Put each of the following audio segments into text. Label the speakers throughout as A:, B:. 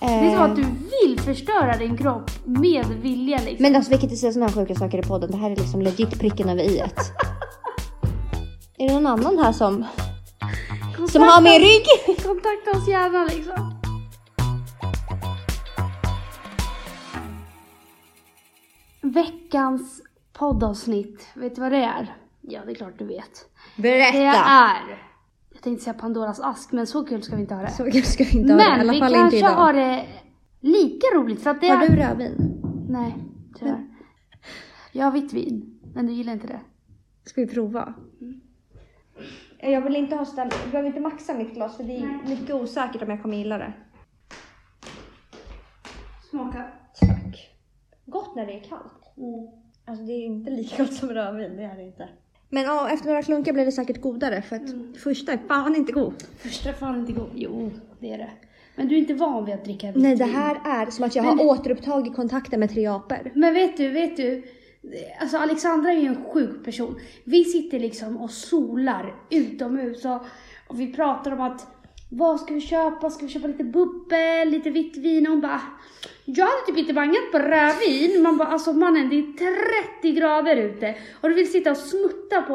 A: Det är som
B: Eh,
A: att du vill förstöra din kropp med vilja liksom.
B: Men alltså vi kan inte säga sådana här sjuka saker i podden. Det här är liksom legit pricken över i ett. är det någon annan här som, som har min rygg?
A: Kontakta oss gärna liksom. Veckans poddavsnitt, vet du vad det är? Ja, det är klart du vet. Det
B: Berätta!
A: är... Jag tänkte säga Pandoras ask, men så kul ska vi inte ha det.
B: Så kul ska vi inte ha det. I
A: men
B: alla
A: vi
B: fall inte
A: kanske
B: idag.
A: har det lika roligt för att det
B: Har
A: är...
B: du rödvin?
A: Nej, tyvärr. Jag har vitt vin, men du gillar inte det.
B: Ska vi prova? Eh, Jag vill inte ha ställ... Du behöver inte maxa mitt glas för det är mycket osäkert om jag kommer gilla det.
A: Smaka.
B: Tack. Gott när det är kallt. Alltså det är inte lika gott som rödvin, det är det inte. Mm. Men ja, efter några klunkar blir det säkert godare för att första är fan inte god.
A: Första fan inte god. Jo, det är det. Men du är inte van vid att dricka vitt
B: Nej, det
A: vin.
B: här är som att jag har återupptagit kontakten med tre apor.
A: Men vet du, vet du? Alltså Alexandra är ju en sjuk person. Vi sitter liksom och solar utomhus och, och vi pratar om att vad ska vi köpa? Ska vi köpa lite bubbel, lite vitt vin? Och hon bara, jag hade typ inte bangat på rödvin. Man bara, alltså mannen det är 30 grader ute och du vill sitta och smutta på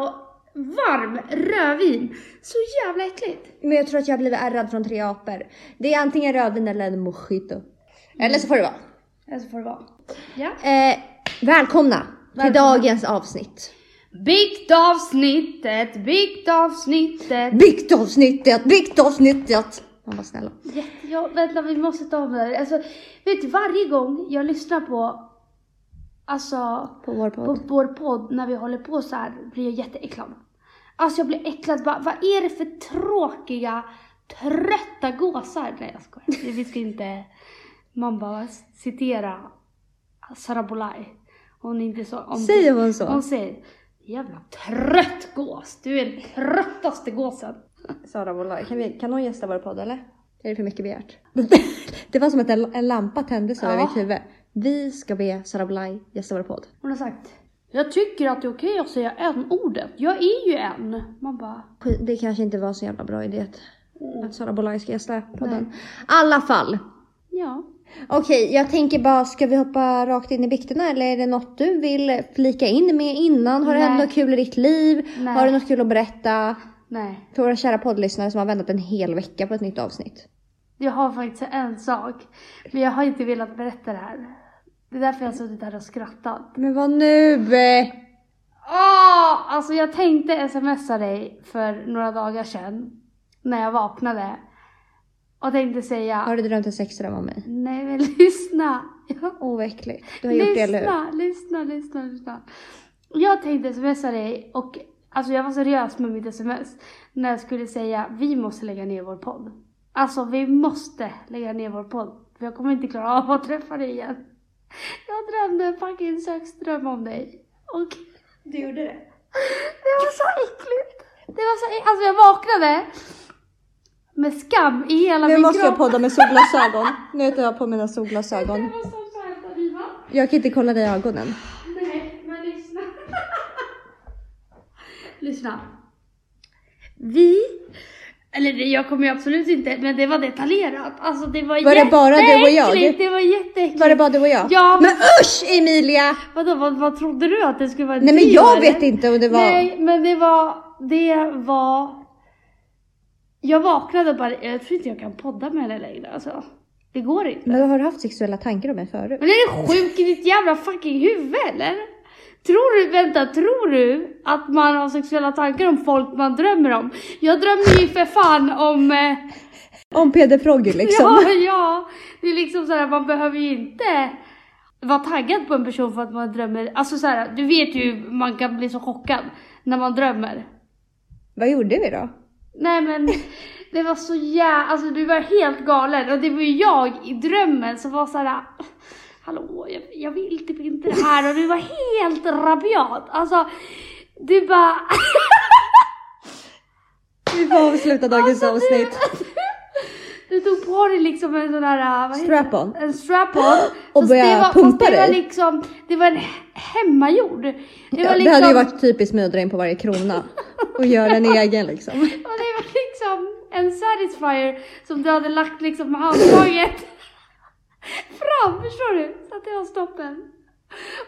A: varm rödvin. Så jävla äckligt.
B: Men jag tror att jag har blivit ärrad från tre apor. Det är antingen rödvin eller en mojito. Eller så får det vara.
A: Alltså får det vara. Ja.
B: Eh, välkomna, till dagens avsnitt.
A: Biktavsnittet, biktavsnittet.
B: Biktavsnittet, biktavsnittet! Man var snälla.
A: Jätte- Ja, vänta, vi måste ta om det här. Alltså, vet du, varje gång jag lyssnar på, alltså,
B: På vår
A: på
B: podd.
A: vår podd när vi håller på så här blir jag jätteäcklad. Alltså jag blir äcklad. Bara, vad är det för tråkiga, trötta gåsar? Nej, jag skojar. Vi ska inte, man bara citera Sara Bolaj. Hon är inte så om
B: Säger hon så?
A: Hon säger, jävla trött gås. Du är den tröttaste gåsen.
B: Sara Wollaj, kan, vi- kan hon gästa vår podd eller? Är det för mycket begärt? det var som att en, en lampa tändes över
A: Ja.
B: mitt huvud. Vi ska be Sara Wollaj gästa vår podd.
A: Hon har sagt Jag tycker att det är okej att säga en ordet. Jag är ju en. Man bara
B: Skit- Det kanske inte var så jävla bra idé att,
A: Mm.
B: att Sara Wollaj ska gästa podden. I alla fall.
A: ja.
B: Okej, jag tänker bara, ska vi hoppa rakt in i bikterna eller är det något du vill flika in med innan? Har det hänt
A: Nej.
B: något kul i ditt liv?
A: Nej.
B: Har du något kul att berätta?
A: Nej.
B: För våra kära poddlyssnare som har väntat en hel vecka på ett nytt avsnitt.
A: Jag har faktiskt en sak. Men jag har inte velat berätta det här. Det är därför jag har suttit här och skrattat.
B: Men vad nu?
A: Åh! Alltså jag tänkte smsa dig för några dagar sedan. När jag vaknade. Och tänkte säga
B: Har du drömt en sexdröm om mig?
A: Nej men lyssna. Jag
B: Åh vad äckligt. Du har gjort det eller hur?
A: lyssna, lyssna, lyssna, lyssna. Jag tänkte smsa dig och alltså jag var seriös med mitt sms när jag skulle säga vi måste lägga ner vår podd. Alltså vi måste lägga ner vår podd för jag kommer inte klara av att träffa dig igen. Jag drömde en fucking sökström om dig och
B: Du gjorde det?
A: det var så äckligt. Det var så äckligt. Alltså jag vaknade med skam i hela
B: Nu
A: min
B: måste jag
A: kropp.
B: podda med solglasögon. Nu tar jag på mina solglasögon.
A: Det var så skönt Alina.
B: Jag kan inte kolla dig i ögonen.
A: Nej, men lyssna. lyssna. Vi, eller det- jag kommer ju absolut inte, men det var detaljerat. Alltså det var,
B: Var det bara du och jag?
A: jätteäckligt, Det var jätteäckligt.
B: Var det bara du och jag?
A: Ja,
B: Men usch Emilia!
A: Vadå, vad, vad trodde du att det skulle vara?
B: Nej men
A: du,
B: jag
A: eller?
B: vet inte om det var...
A: Nej, men det var, det var... Jag vaknade och bara, jag tror inte jag kan podda med henne längre alltså. Det går inte.
B: Men har du haft sexuella tankar om mig förut?
A: Men är du sjuk i ditt jävla fucking huvud eller? Tror du, vänta, tror du att man har sexuella tankar om folk man drömmer om? Jag drömmer ju för fan om, eh,
B: Om Peder Frogger liksom.
A: ja, ja, det är liksom såhär, man behöver ju inte vara taggad på en person för att man drömmer, alltså såhär, du vet ju man kan bli så chockad när man drömmer.
B: Vad gjorde vi då?
A: Nej men det var så jävla, alltså du var helt galen och det var ju jag i drömmen som var såhär Hallå, jag, jag vill typ inte det här och du var helt rabiat. Alltså du bara
B: Vi får avsluta dagens avsnitt.
A: Du tog på dig liksom en sån här, vad heter
B: Strap-on.
A: det? En strap-on.
B: Och
A: Fast
B: började
A: det var- fast
B: pumpa
A: det var
B: dig.
A: liksom, det var en he- hemmagjord. Det var
B: Ja,
A: liksom,
B: det hade ju varit typiskt mig att dra in på varje krona och göra en egen liksom.
A: Och det var liksom en satisfier som du hade lagt liksom med handtaget. fram, förstår du? Så att jag har stoppen.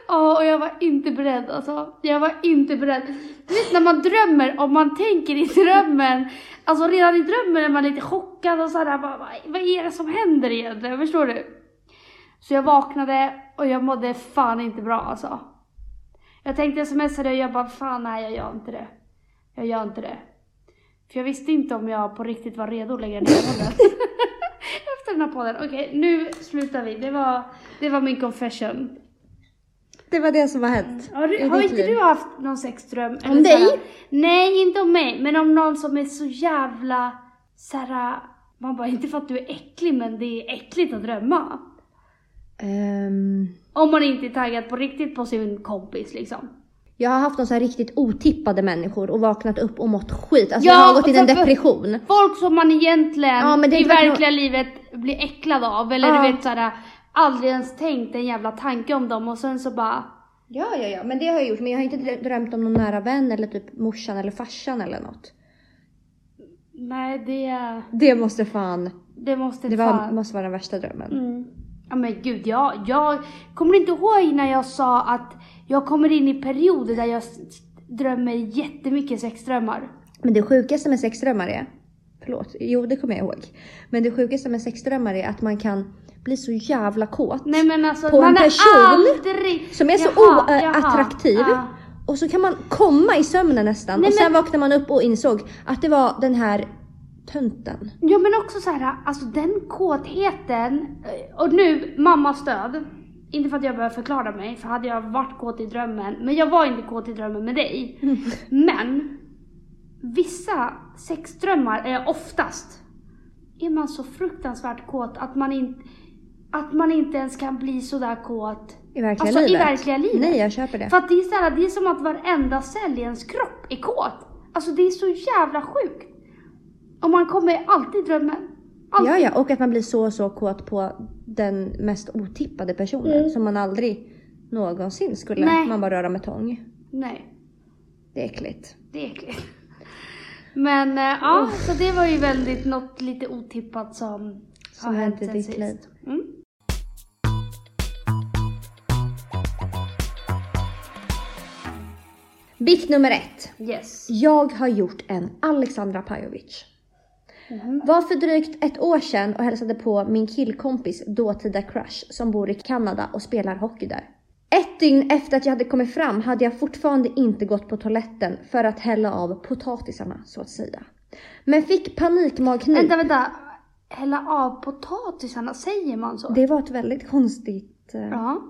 A: Ja, och jag var inte beredd alltså. Jag var inte beredd. Du vet när man drömmer och man tänker i drömmen. Alltså redan i drömmen är man lite chockad och sådär. Bara, vad- vad är det som händer egentligen? Förstår du? Så jag vaknade och jag mådde fan inte bra alltså. Jag tänkte smsade och jag bara fan nej jag gör inte det. Jag gör inte det. För jag visste inte om jag på riktigt var redo att lägga ner podden. Efter den här podden. Okej, nu slutar vi. Det var, det var min confession.
B: Det var det som har hänt.
A: Har,
B: i
A: du, har
B: ditt
A: inte
B: liv.
A: du haft någon sexdröm?
B: Om
A: Eller
B: dig?
A: såhär- nej, inte om mig. Men om någon som är så jävla såhär... Man bara, inte för att du är äcklig, men det är äckligt att drömma.
B: Ehm,
A: Om man inte är taggad på riktigt på sin kompis liksom.
B: jag har haft någon så här riktigt otippade människor och vaknat upp och mått skit. Alltså
A: Ja,
B: jag har gått in i en
A: och så-
B: depression.
A: Folk som man egentligen
B: Ja, men det är
A: i
B: inte verkligen-
A: verkliga livet blir äcklad av. Eller
B: Ja.
A: du vet såhär, aldrig ens tänkt en jävla tanke om dem och sen så bara...
B: Ja, ja, ja, men det har jag gjort. Men jag har inte drö- drömt om någon nära vän eller typ morsan eller farsan eller något.
A: Nej, det,
B: Det måste fan,
A: det måste
B: det var,
A: fan...
B: måste vara den värsta drömmen.
A: Mm. Ja men gud, jag, jag kommer inte ihåg när jag sa att jag kommer in i perioder där jag s- s- drömmer jättemycket sexdrömmar.
B: Men det sjukaste med sexdrömmar är, förlåt, jo det kommer jag ihåg. Men det sjukaste med sexdrömmar är att man kan bli så jävla kåt.
A: Nej men alltså,
B: På en
A: man
B: person
A: är aldrig...
B: Som är så
A: Jaha, jaha,
B: oattraktiv.
A: ja.
B: Och så kan man komma i sömnen nästan.
A: Nej,
B: och sen
A: men-
B: vaknar man upp och insåg att det var den här tönten.
A: Ja men också så här, alltså den kåtheten, eh, och nu mammas död. Inte för att jag behöver förklara mig, för hade jag varit kåt i drömmen, men jag var inte kåt i drömmen med dig. Men vissa sexdrömmar, är oftast, är man så fruktansvärt kåt att man, in, att man inte ens kan bli sådär kåt.
B: I verkliga
A: Alltså, i
B: livet.
A: verkliga livet.
B: Nej, jag köper det.
A: För att det är, så här, det är som att varenda cell i ens kropp är kåt. Alltså det är så jävla sjukt. Och man kommer alltid i drömmen. Alltid.
B: Ja, ja, och att man blir så, så kåt på den mest otippade personen som man aldrig någonsin skulle...
A: Mm. Nej.
B: Man bara röra med tång.
A: Nej.
B: Det är äckligt.
A: Det är äckligt. Men eh, ja, så det var ju väldigt något lite otippat som,
B: Som hänt i ditt liv.
A: Mm.
B: Bikt nummer ett.
A: Yes.
B: Jag har gjort en Alexandra Pajovic. Var för drygt ett år sedan och hälsade på min killkompis dåtida crush som bor i Kanada och spelar hockey där. Ett dygn efter att jag hade kommit fram hade jag fortfarande inte gått på toaletten för att hälla av potatisarna så att säga. Men fick panikmagknip.
A: Vänta, vänta. Hälla av potatisarna, säger man så?
B: Det var ett väldigt konstigt eh,
A: Ja.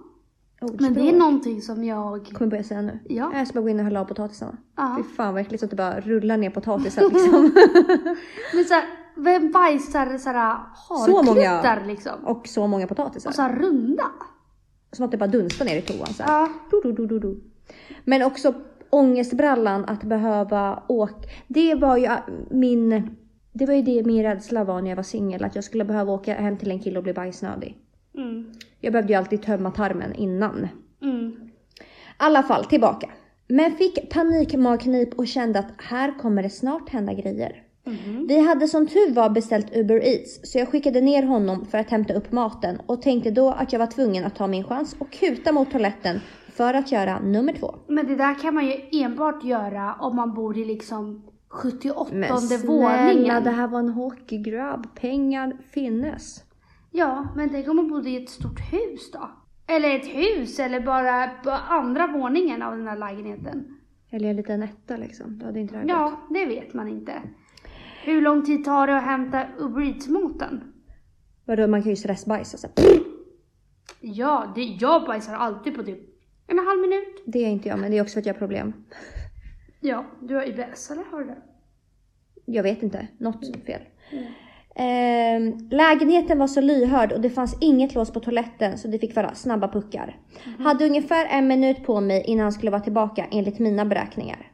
B: ordspråk.
A: Men det är någonting som jag...
B: kommer börja säga nu.
A: Ja.
B: Jag ska bara gå in och hälla av potatisarna.
A: Ja.
B: Fy fan vad äckligt att det bara rullar ner potatisen liksom.
A: Men såhär, vem bajsar såhär
B: Så många.
A: eh, harkluttar liksom?
B: och så många potatisar.
A: Och såhär runda?
B: Som att det bara dunstar ner i toan så här.
A: Ja.
B: Du, du, du, du, du. Men också ångestbrallan att behöva åka. Det var ju äh, min... Det var ju det min rädsla var när jag var singel. Att jag skulle behöva åka hem till en kille och bli bajsnödig.
A: Mm.
B: Jag behövde ju alltid tömma tarmen innan. I
A: Mm.
B: alla fall, tillbaka. Men fick panikmagknip och kände att här kommer det snart hända grejer.
A: Mhm.
B: Vi hade som tur var beställt Uber Eats så jag skickade ner honom för att hämta upp maten och tänkte då att jag var tvungen att ta min chans och kuta mot toaletten för att göra nummer två.
A: Men det där kan man ju enbart göra om man bor i liksom 78
B: Men snälla,
A: våningen.
B: det här var en hockeygrabb. Pengar finnes.
A: Ja, men tänk om man bodde i ett stort hus då? Eller ett hus, eller bara på andra våningen av den här lägenheten.
B: Eller en liten etta liksom. Då hade inte det här gått.
A: Ja, det vet man inte. Hur lång tid tar det att hämta Uber Eats-moten?
B: Vadå, man kan ju stressbajsa. Så här.
A: Ja, det, jag bajsar alltid på typ en halv minut.
B: Det är inte jag, men det är också för att jag har problem.
A: Ja, du har IBS eller har du det?
B: Jag vet inte, något fel. Ehm, lägenheten var så lyhörd och det fanns inget lås på toaletten så det fick vara snabba puckar.
A: Mhm.
B: Hade ungefär en minut på mig innan han skulle vara tillbaka enligt mina beräkningar.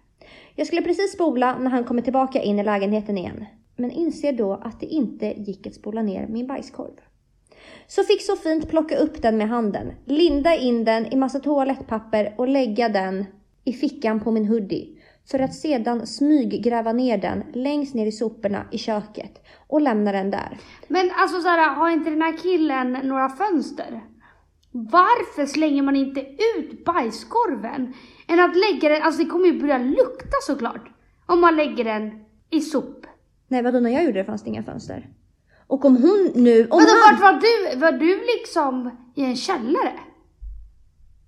B: Jag skulle precis spola när han kommer tillbaka in i lägenheten igen. Men inser då att det inte gick att spola ner min bajskorv. Så fick så fint plocka upp den med handen, linda in den i massa toalettpapper och lägga den i fickan på min hoodie. för att sedan smyggräva ner den längst ner i soporna i köket och lämna den där.
A: Men alltså så här, har inte den här killen några fönster? Varför slänger man inte ut bajskorven? Än att lägga den, alltså det kommer ju börja lukta såklart. Om man lägger den i sop.
B: Nej vadå, när jag gjorde det fanns det inga fönster. Och om hon nu... Om
A: Vadå,
B: han...
A: vart var du? Var du liksom i en källare?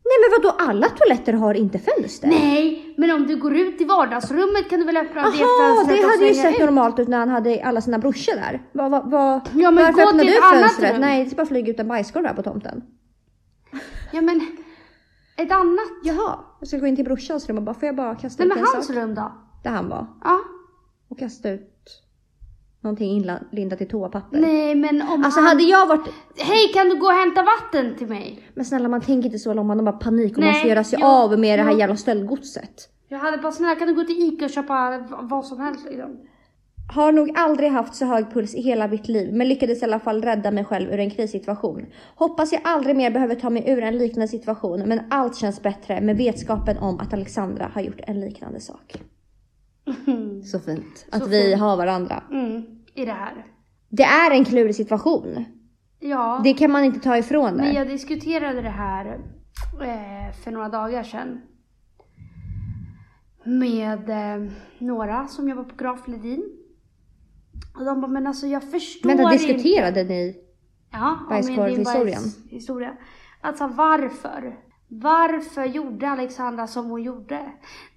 B: Nej men vadå, alla toaletter har inte fönster?
A: Nej, men om du går ut i vardagsrummet kan du väl öppna det
B: Jaha,
A: fönstret
B: det
A: och
B: hade ju
A: slänga
B: sett
A: ut?
B: normalt ut när han hade alla sina brorsor där. Va, va, va,
A: Ja, men
B: varför
A: gå
B: öppnade
A: till
B: du
A: ett annat
B: fönstret?
A: rum.
B: Nej, det är bara flyga ut en bajskorv här på tomten.
A: Ja men, ett annat.
B: Jaha, jag ska gå in till brorsans rum och bara, får jag bara kasta
A: Nej
B: ut
A: men
B: en
A: hans
B: sak?
A: rum då?
B: Där han var.
A: Ja.
B: Och kasta ut någonting inlindat i toapapper.
A: Nej men om
B: Alltså
A: han...
B: hade jag varit...
A: Hej kan du gå och hämta vatten till mig?
B: Men snälla man tänker inte så långt, man har bara panik och
A: Nej,
B: måste göra sig
A: jo,
B: av med det här
A: jo.
B: jävla stöldgodset.
A: Jag hade bara snälla kan du gå till Ica och köpa v- vad som helst liksom?
B: Har nog aldrig haft så hög puls i hela mitt liv, men lyckades i alla fall rädda mig själv ur en krissituation. Hoppas jag aldrig mer behöver ta mig ur en liknande situation, men allt känns bättre med vetskapen om att Alexandra har gjort en liknande sak. Så fint att
A: Så
B: vi
A: fint.
B: har varandra.
A: Mm, i det här.
B: Det är en klurig situation.
A: Ja,
B: Det kan man inte ta ifrån
A: men
B: det.
A: jag diskuterade det här eh, för några dagar sedan. Med eh, några som jobbar på Graf Ledin. Och de bara, men alltså jag förstår
B: Men då
A: inte.
B: diskuterade ni?
A: Ja,
B: Bajskorvshistorien.
A: Historia. Alltså varför? Varför gjorde Alexandra som hon gjorde?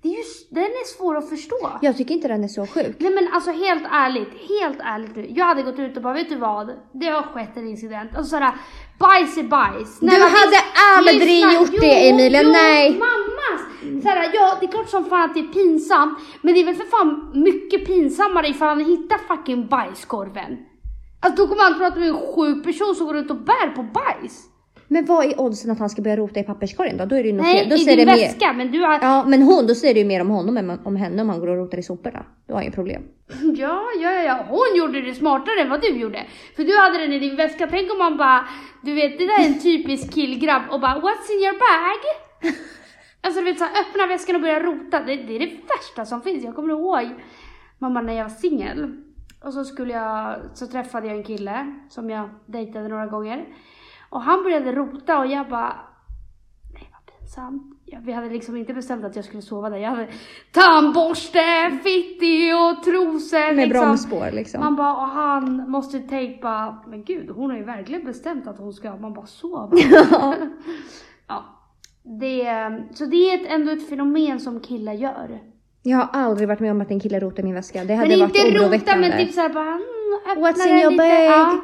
A: Det är just, den är svår att förstå.
B: Jag tycker inte den är så sjuk.
A: Nej men alltså helt ärligt, helt ärligt nu. Jag hade gått ut och bara, vet du vad? Det har skett en incident. Och sådär, bajs är bajs.
B: Du hade aldrig gjort det, Emilia.
A: Jo,
B: Nej.
A: mammas! Såhär, ja det är klart som fan att det är pinsamt. Men det är väl för fan mycket pinsammare ifall han hittar fucking bajskorven. Alltså då kommer han tro att du är en sjuk person som går runt och bär på bajs.
B: Men vad är oddsen att han ska börja rota i papperskorgen då? Då är det ju något
A: Nej,
B: fel. Då
A: i
B: säger
A: din
B: det mer.
A: väska. Men du har... Ja.
B: Ja, men hon, då säger det ju mer om honom än om henne om han går och rotar i soporna. Då har han ju problem.
A: ja, ja, ja. Hon gjorde det smartare än vad du gjorde. För du hade den i din väska. Tänk om man bara, du vet det där är en typisk killgrabb och bara what's in your bag? Alltså du vet så här, öppna väskan och börja rota. Det, det är det värsta som finns. Jag kommer ihåg mamma när jag var singel. Och så skulle jag, så träffade jag en kille som jag dejtade några gånger. Och han började rota och jag bara, nej vad pinsamt. Ja, vi hade liksom inte bestämt att jag skulle sova där. Jag hade tandborste, fitti och trosor.
B: Med
A: liksom.
B: bromsspår liksom.
A: Man bara, och han måste tänka, men gud hon har ju verkligen bestämt att hon ska, man bara sova. ja. Det, så det är ett, ändå ett fenomen som killar gör.
B: Jag har aldrig varit med om att en kille rotar i min väska. Det hade
A: Men
B: varit
A: inte rota
B: oroväckande.
A: men typ såhär bara mm, öppna
B: What's in
A: den
B: your
A: lite.
B: bag?
A: Ja.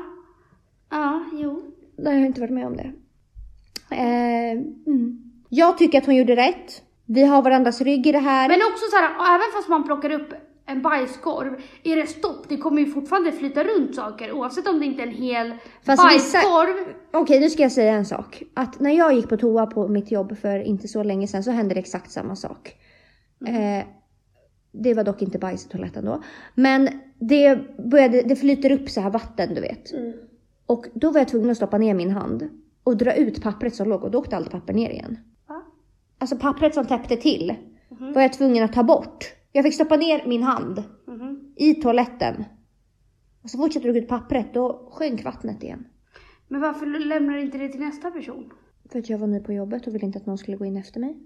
A: ja, jo.
B: Nej, jag har inte varit med om det. Eh, mm. Jag tycker att hon gjorde rätt. Vi har varandras rygg i det här.
A: Men också såhär, och även fast man plockar upp en bajskorv, är det stopp, det kommer ju fortfarande flyta runt saker oavsett om det inte är en hel
B: Fast vissa-
A: bajskorv.
B: Okej, nu ska jag säga en sak. Att när jag gick på toa på mitt jobb för inte så länge sedan så hände det exakt samma sak. Eh, det var dock inte bajs i toaletten då. Men det, började, det flyter upp så här vatten, du vet. Och då var jag tvungen att stoppa ner min hand och dra ut pappret som låg och då åkte allt papper ner igen.
A: Va?
B: Alltså pappret som täppte till var jag tvungen att ta bort. Jag fick stoppa ner min hand
A: Mhm.
B: i toaletten. Och så fort jag drog ut pappret då sjönk vattnet igen.
A: Men varför lämnar du inte det till nästa person?
B: För att jag var ny på jobbet och ville inte att någon skulle gå in efter mig.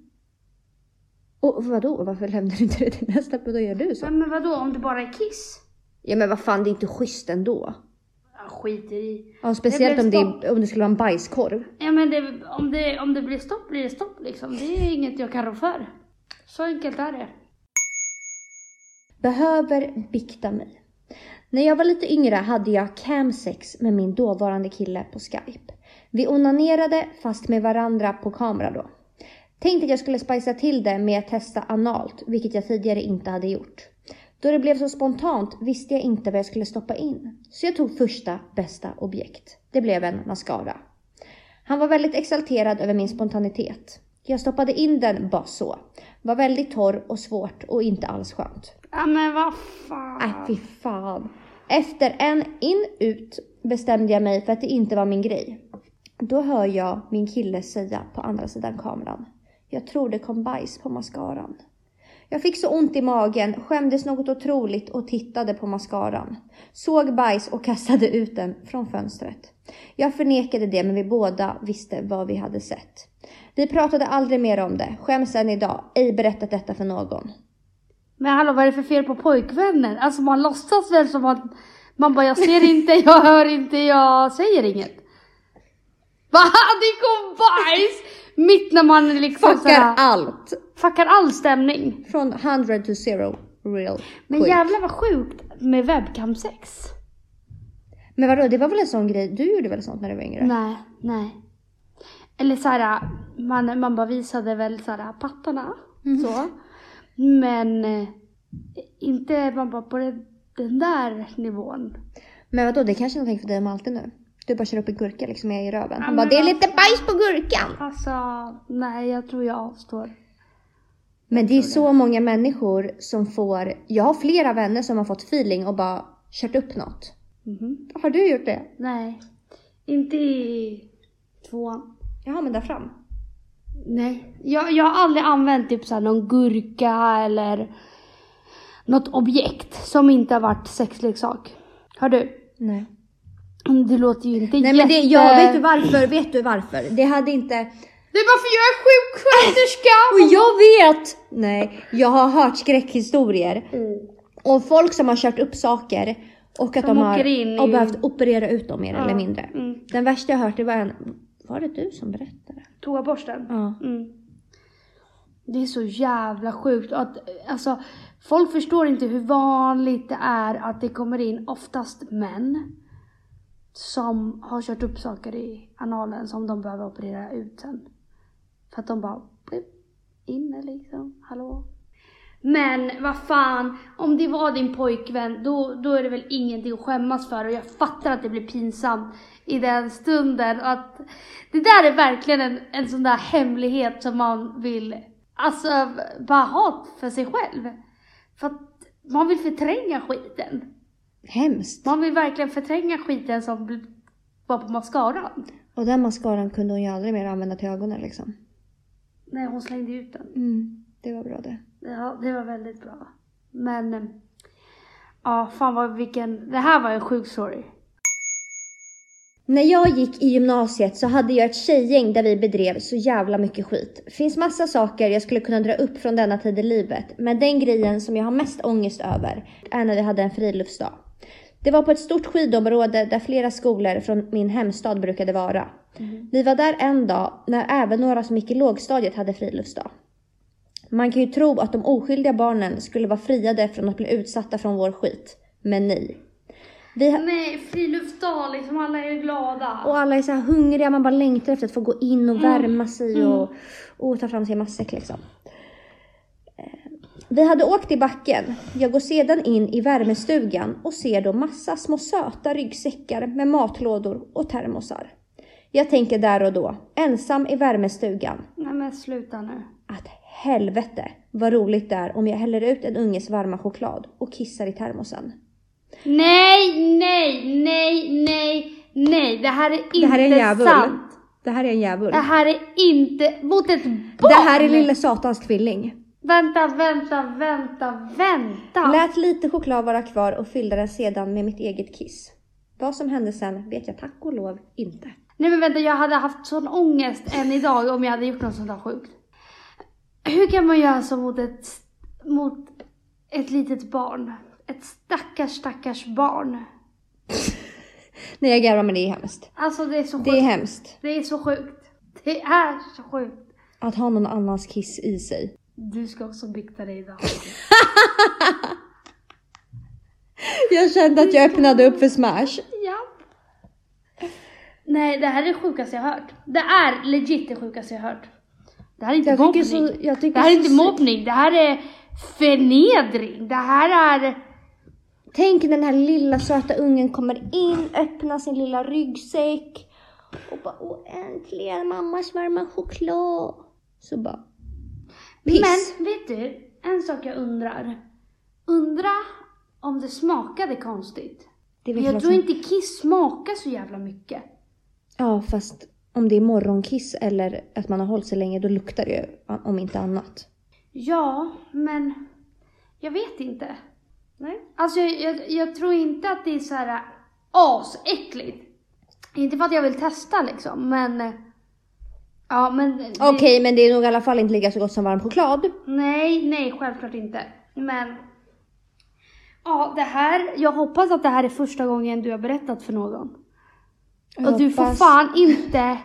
B: Och vadå, varför lämnar du inte det till nästa? Då gör du så.
A: Men, men vadå om det bara är kiss?
B: Ja men vad fan, det är inte schysst ändå.
A: Jag skiter i.
B: Ja, speciellt
A: blev
B: om det,
A: stopp.
B: är- om det skulle vara en bajskorv.
A: Ja men det, om, det, om det blir stopp blir det stopp liksom. Det är inget jag kan rå för. Så enkelt är det.
B: Behöver bikta mig. När jag var lite yngre hade jag camsex med min dåvarande kille på skype. Vi onanerade fast med varandra på kamera då. Tänkte att jag skulle spicea till det med att testa analt, vilket jag tidigare inte hade gjort. Då det blev så spontant visste jag inte vad jag skulle stoppa in. Så jag tog första bästa objekt. Det blev en mascara. Han var väldigt exalterad över min spontanitet. Jag stoppade in den bara så. Var väldigt torr och svårt och inte alls skönt.
A: Ja men vad fan.
B: Nej, Äh, fy fan. Efter en in ut bestämde jag mig för att det inte var min grej. Då hör jag min kille säga på andra sidan kameran. Jag tror det kom bajs på mascaran. Jag fick så ont i magen, skämdes något otroligt och tittade på mascaran. Såg bajs och kastade ut den från fönstret. Jag förnekade det men vi båda visste vad vi hade sett. Vi pratade aldrig mer om det, skäms än idag, ej berättat detta för någon.
A: Men hallå, vad är det för fel på pojkvännen? Alltså man låtsas väl som att man bara, jag ser inte, jag hör inte, jag säger inget. Va? Det kom bajs! Mitt när man liksom
B: Fuckar allt!
A: fuckar all stämning.
B: Från 100 to 0 real
A: Men
B: quick.
A: jävlar vad sjukt med webcam-sex.
B: Men vadå, det var väl en sån grej, du gjorde väl sånt när du var yngre?
A: Nej, nej. Eller såhär, man, man bara visade väl såhär pattarna.
B: Mm.
A: Så. Men eh, inte man bara på den, den där nivån.
B: Men vadå, det kanske är någonting för dig och Malte nu? Du bara kör upp en gurka liksom i röven. Han
A: men
B: bara, det är
A: vad
B: lite bajs på gurkan!
A: Alltså, nej jag tror jag avstår.
B: Men det är så många människor som får, jag har flera vänner som har fått feeling och bara kört upp något.
A: Mhm.
B: Har du gjort det?
A: Nej. Inte i tvåan.
B: Jaha, men där fram.
A: Nej. Jag, jag har aldrig använt typ såhär någon gurka eller något objekt som inte har varit sexleksak. Har du?
B: Nej.
A: Det låter ju inte
B: Nej men det, jag vet du varför, vet du varför? Det hade inte...
A: Det är bara för jag är sjuksköterska!
B: Och jag vet! Nej, jag har hört skräckhistorier.
A: Mm.
B: Och folk som har kört upp saker och att
A: Som
B: de har
A: åker in
B: och
A: i-
B: behövt operera ut dem mer
A: Ja,
B: eller mindre.
A: mm.
B: Den värsta jag hört det var en... Var det du som berättade?
A: Toaborsten?
B: Ja.
A: Mm. Det är så jävla sjukt att alltså, folk förstår inte hur vanligt det är att det kommer in oftast män som har kört upp saker i analen som de behöver operera ut sen. För att de bara blip, inne liksom, hallå? Men vad fan, om det var din pojkvän då, då är det väl ingenting att skämmas för och jag fattar att det blir pinsamt i den stunden. och Att det där är verkligen en, en sån där hemlighet som man vill alltså, bara ha för sig själv. För att man vill förtränga skiten.
B: Hemskt.
A: Man vill verkligen förtränga skiten som bl- var på mascaran.
B: Och den mascaran kunde hon ju aldrig mer använda till ögonen liksom.
A: Nej, hon slängde ut den.
B: Mm, det var bra det.
A: Ja, det var väldigt bra. Men, eh, ja, fan vad vilken, det här var en sjuk story.
B: När jag gick i gymnasiet så hade jag ett tjejgäng där vi bedrev så jävla mycket skit. Finns massa saker jag skulle kunna dra upp från denna tid i livet, men den grejen som jag har mest ångest över är när vi hade en friluftsdag. Det var på ett stort skidområde där flera skolor från min hemstad brukade vara. Vi var där en dag när även några som gick i lågstadiet hade friluftsdag. Man kan ju tro att de oskyldiga barnen skulle vara friade från att bli utsatta från vår skit, men nej. Vi,
A: Nej, friluftsdag liksom, alla är glada.
B: och alla är så här hungriga, man bara längtar efter att få gå in
A: Mm.
B: och värma sig och, och ta fram sin matsäck liksom. Eh, Vi hade åkt i backen. Jag går sedan in i värmestugan och ser då massa små söta ryggsäckar med matlådor och termosar. Jag tänker där och då, ensam i värmestugan,
A: Nej men sluta nu.
B: att helvete vad roligt det är om jag häller ut en unges varma choklad och kissar i termosen.
A: Nej, nej, nej, nej, nej. Det här är inte
B: Det här är en djävul.
A: sant.
B: Det här är en djävul.
A: Det här är inte mot ett barn.
B: Det här är lille satans tvilling.
A: Vänta, vänta, vänta, vänta.
B: Lät lite choklad vara kvar och fyllde den sedan med mitt eget kiss. Vad som hände sen vet jag tack och lov inte.
A: Nej men vänta, jag hade haft sån ångest än idag om jag hade gjort något sånt där sjukt. Hur kan man göra så mot ett, mot ett litet barn? Ett stackars, stackars barn.
B: Nej jag garvar men det är hemskt.
A: Alltså det är så sjukt.
B: Det är hemskt
A: det är så sjukt. Det är så sjukt.
B: att ha någon annans kiss i sig.
A: Du ska också bikta dig idag.
B: Jag kände att jag öppnade upp för smash.
A: ja. Nej, det här är det sjukaste jag har hört. Det är legit det sjukaste jag har hört. Det här är inte
B: Jag tycker
A: mobbning.
B: så, jag tycker
A: det här är
B: så
A: inte
B: sy-
A: mobbning. Det här är förnedring. Det här är...
B: Tänk när den här lilla söta ungen kommer in, öppnar sin lilla ryggsäck och bara åh äntligen mammas varma choklad. Så bara piss.
A: Men vet du, en sak jag undrar. Undra om det smakade konstigt.
B: det vet
A: Jag
B: vad
A: tror
B: som-
A: inte kiss smakar så jävla mycket.
B: Ja, fast om det är morgonkiss eller att man har hållit sig länge, då luktar det ju om inte annat.
A: Ja, men jag vet inte.
B: Nej.
A: Alltså jag, jag, jag tror inte att det är så här äh, asäckligt. Inte för att jag vill testa liksom, men... eh, Ja, men... äh, det-
B: Okej, men det är nog i alla fall inte lika så gott som varm choklad.
A: Nej, nej, självklart inte. Men... Ja, det här... Jag hoppas att det här är första gången du har berättat för någon.
B: Jag
A: Och du får
B: hoppas-
A: fan inte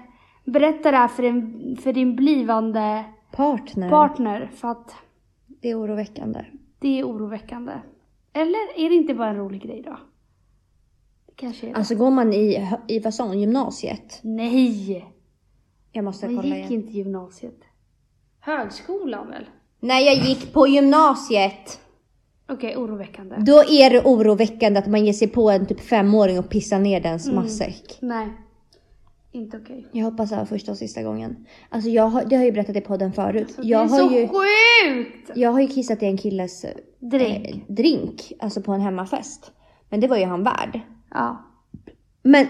A: berätta det här för din, för din blivande
B: Partner.
A: partner, för att
B: det är oroväckande.
A: det är oroväckande. Eller är det inte bara en rolig grej då? Det kanske är det.
B: Alltså går man i, hö- i vad sa hon, gymnasiet?
A: Nej!
B: Jag måste
A: Man
B: kolla
A: gick
B: igen.
A: inte gymnasiet. Högskolan väl?
B: Nej, jag gick på gymnasiet.
A: Okej, oroväckande.
B: Då är det oroväckande att man ger sig på en typ femåring och pissar ner dens
A: Mm.
B: matsäck.
A: Nej. Inte okej.
B: Jag hoppas det här var första och sista gången. Alltså jag har, det har jag ju berättat i podden förut.
A: Så
B: jag,
A: Alltså, det är så
B: har ju,
A: sjukt!
B: jag har ju kissat i en killes eh,
A: Drink.
B: drink, alltså på en hemmafest. Men det var ju han värd.
A: Ja.
B: Men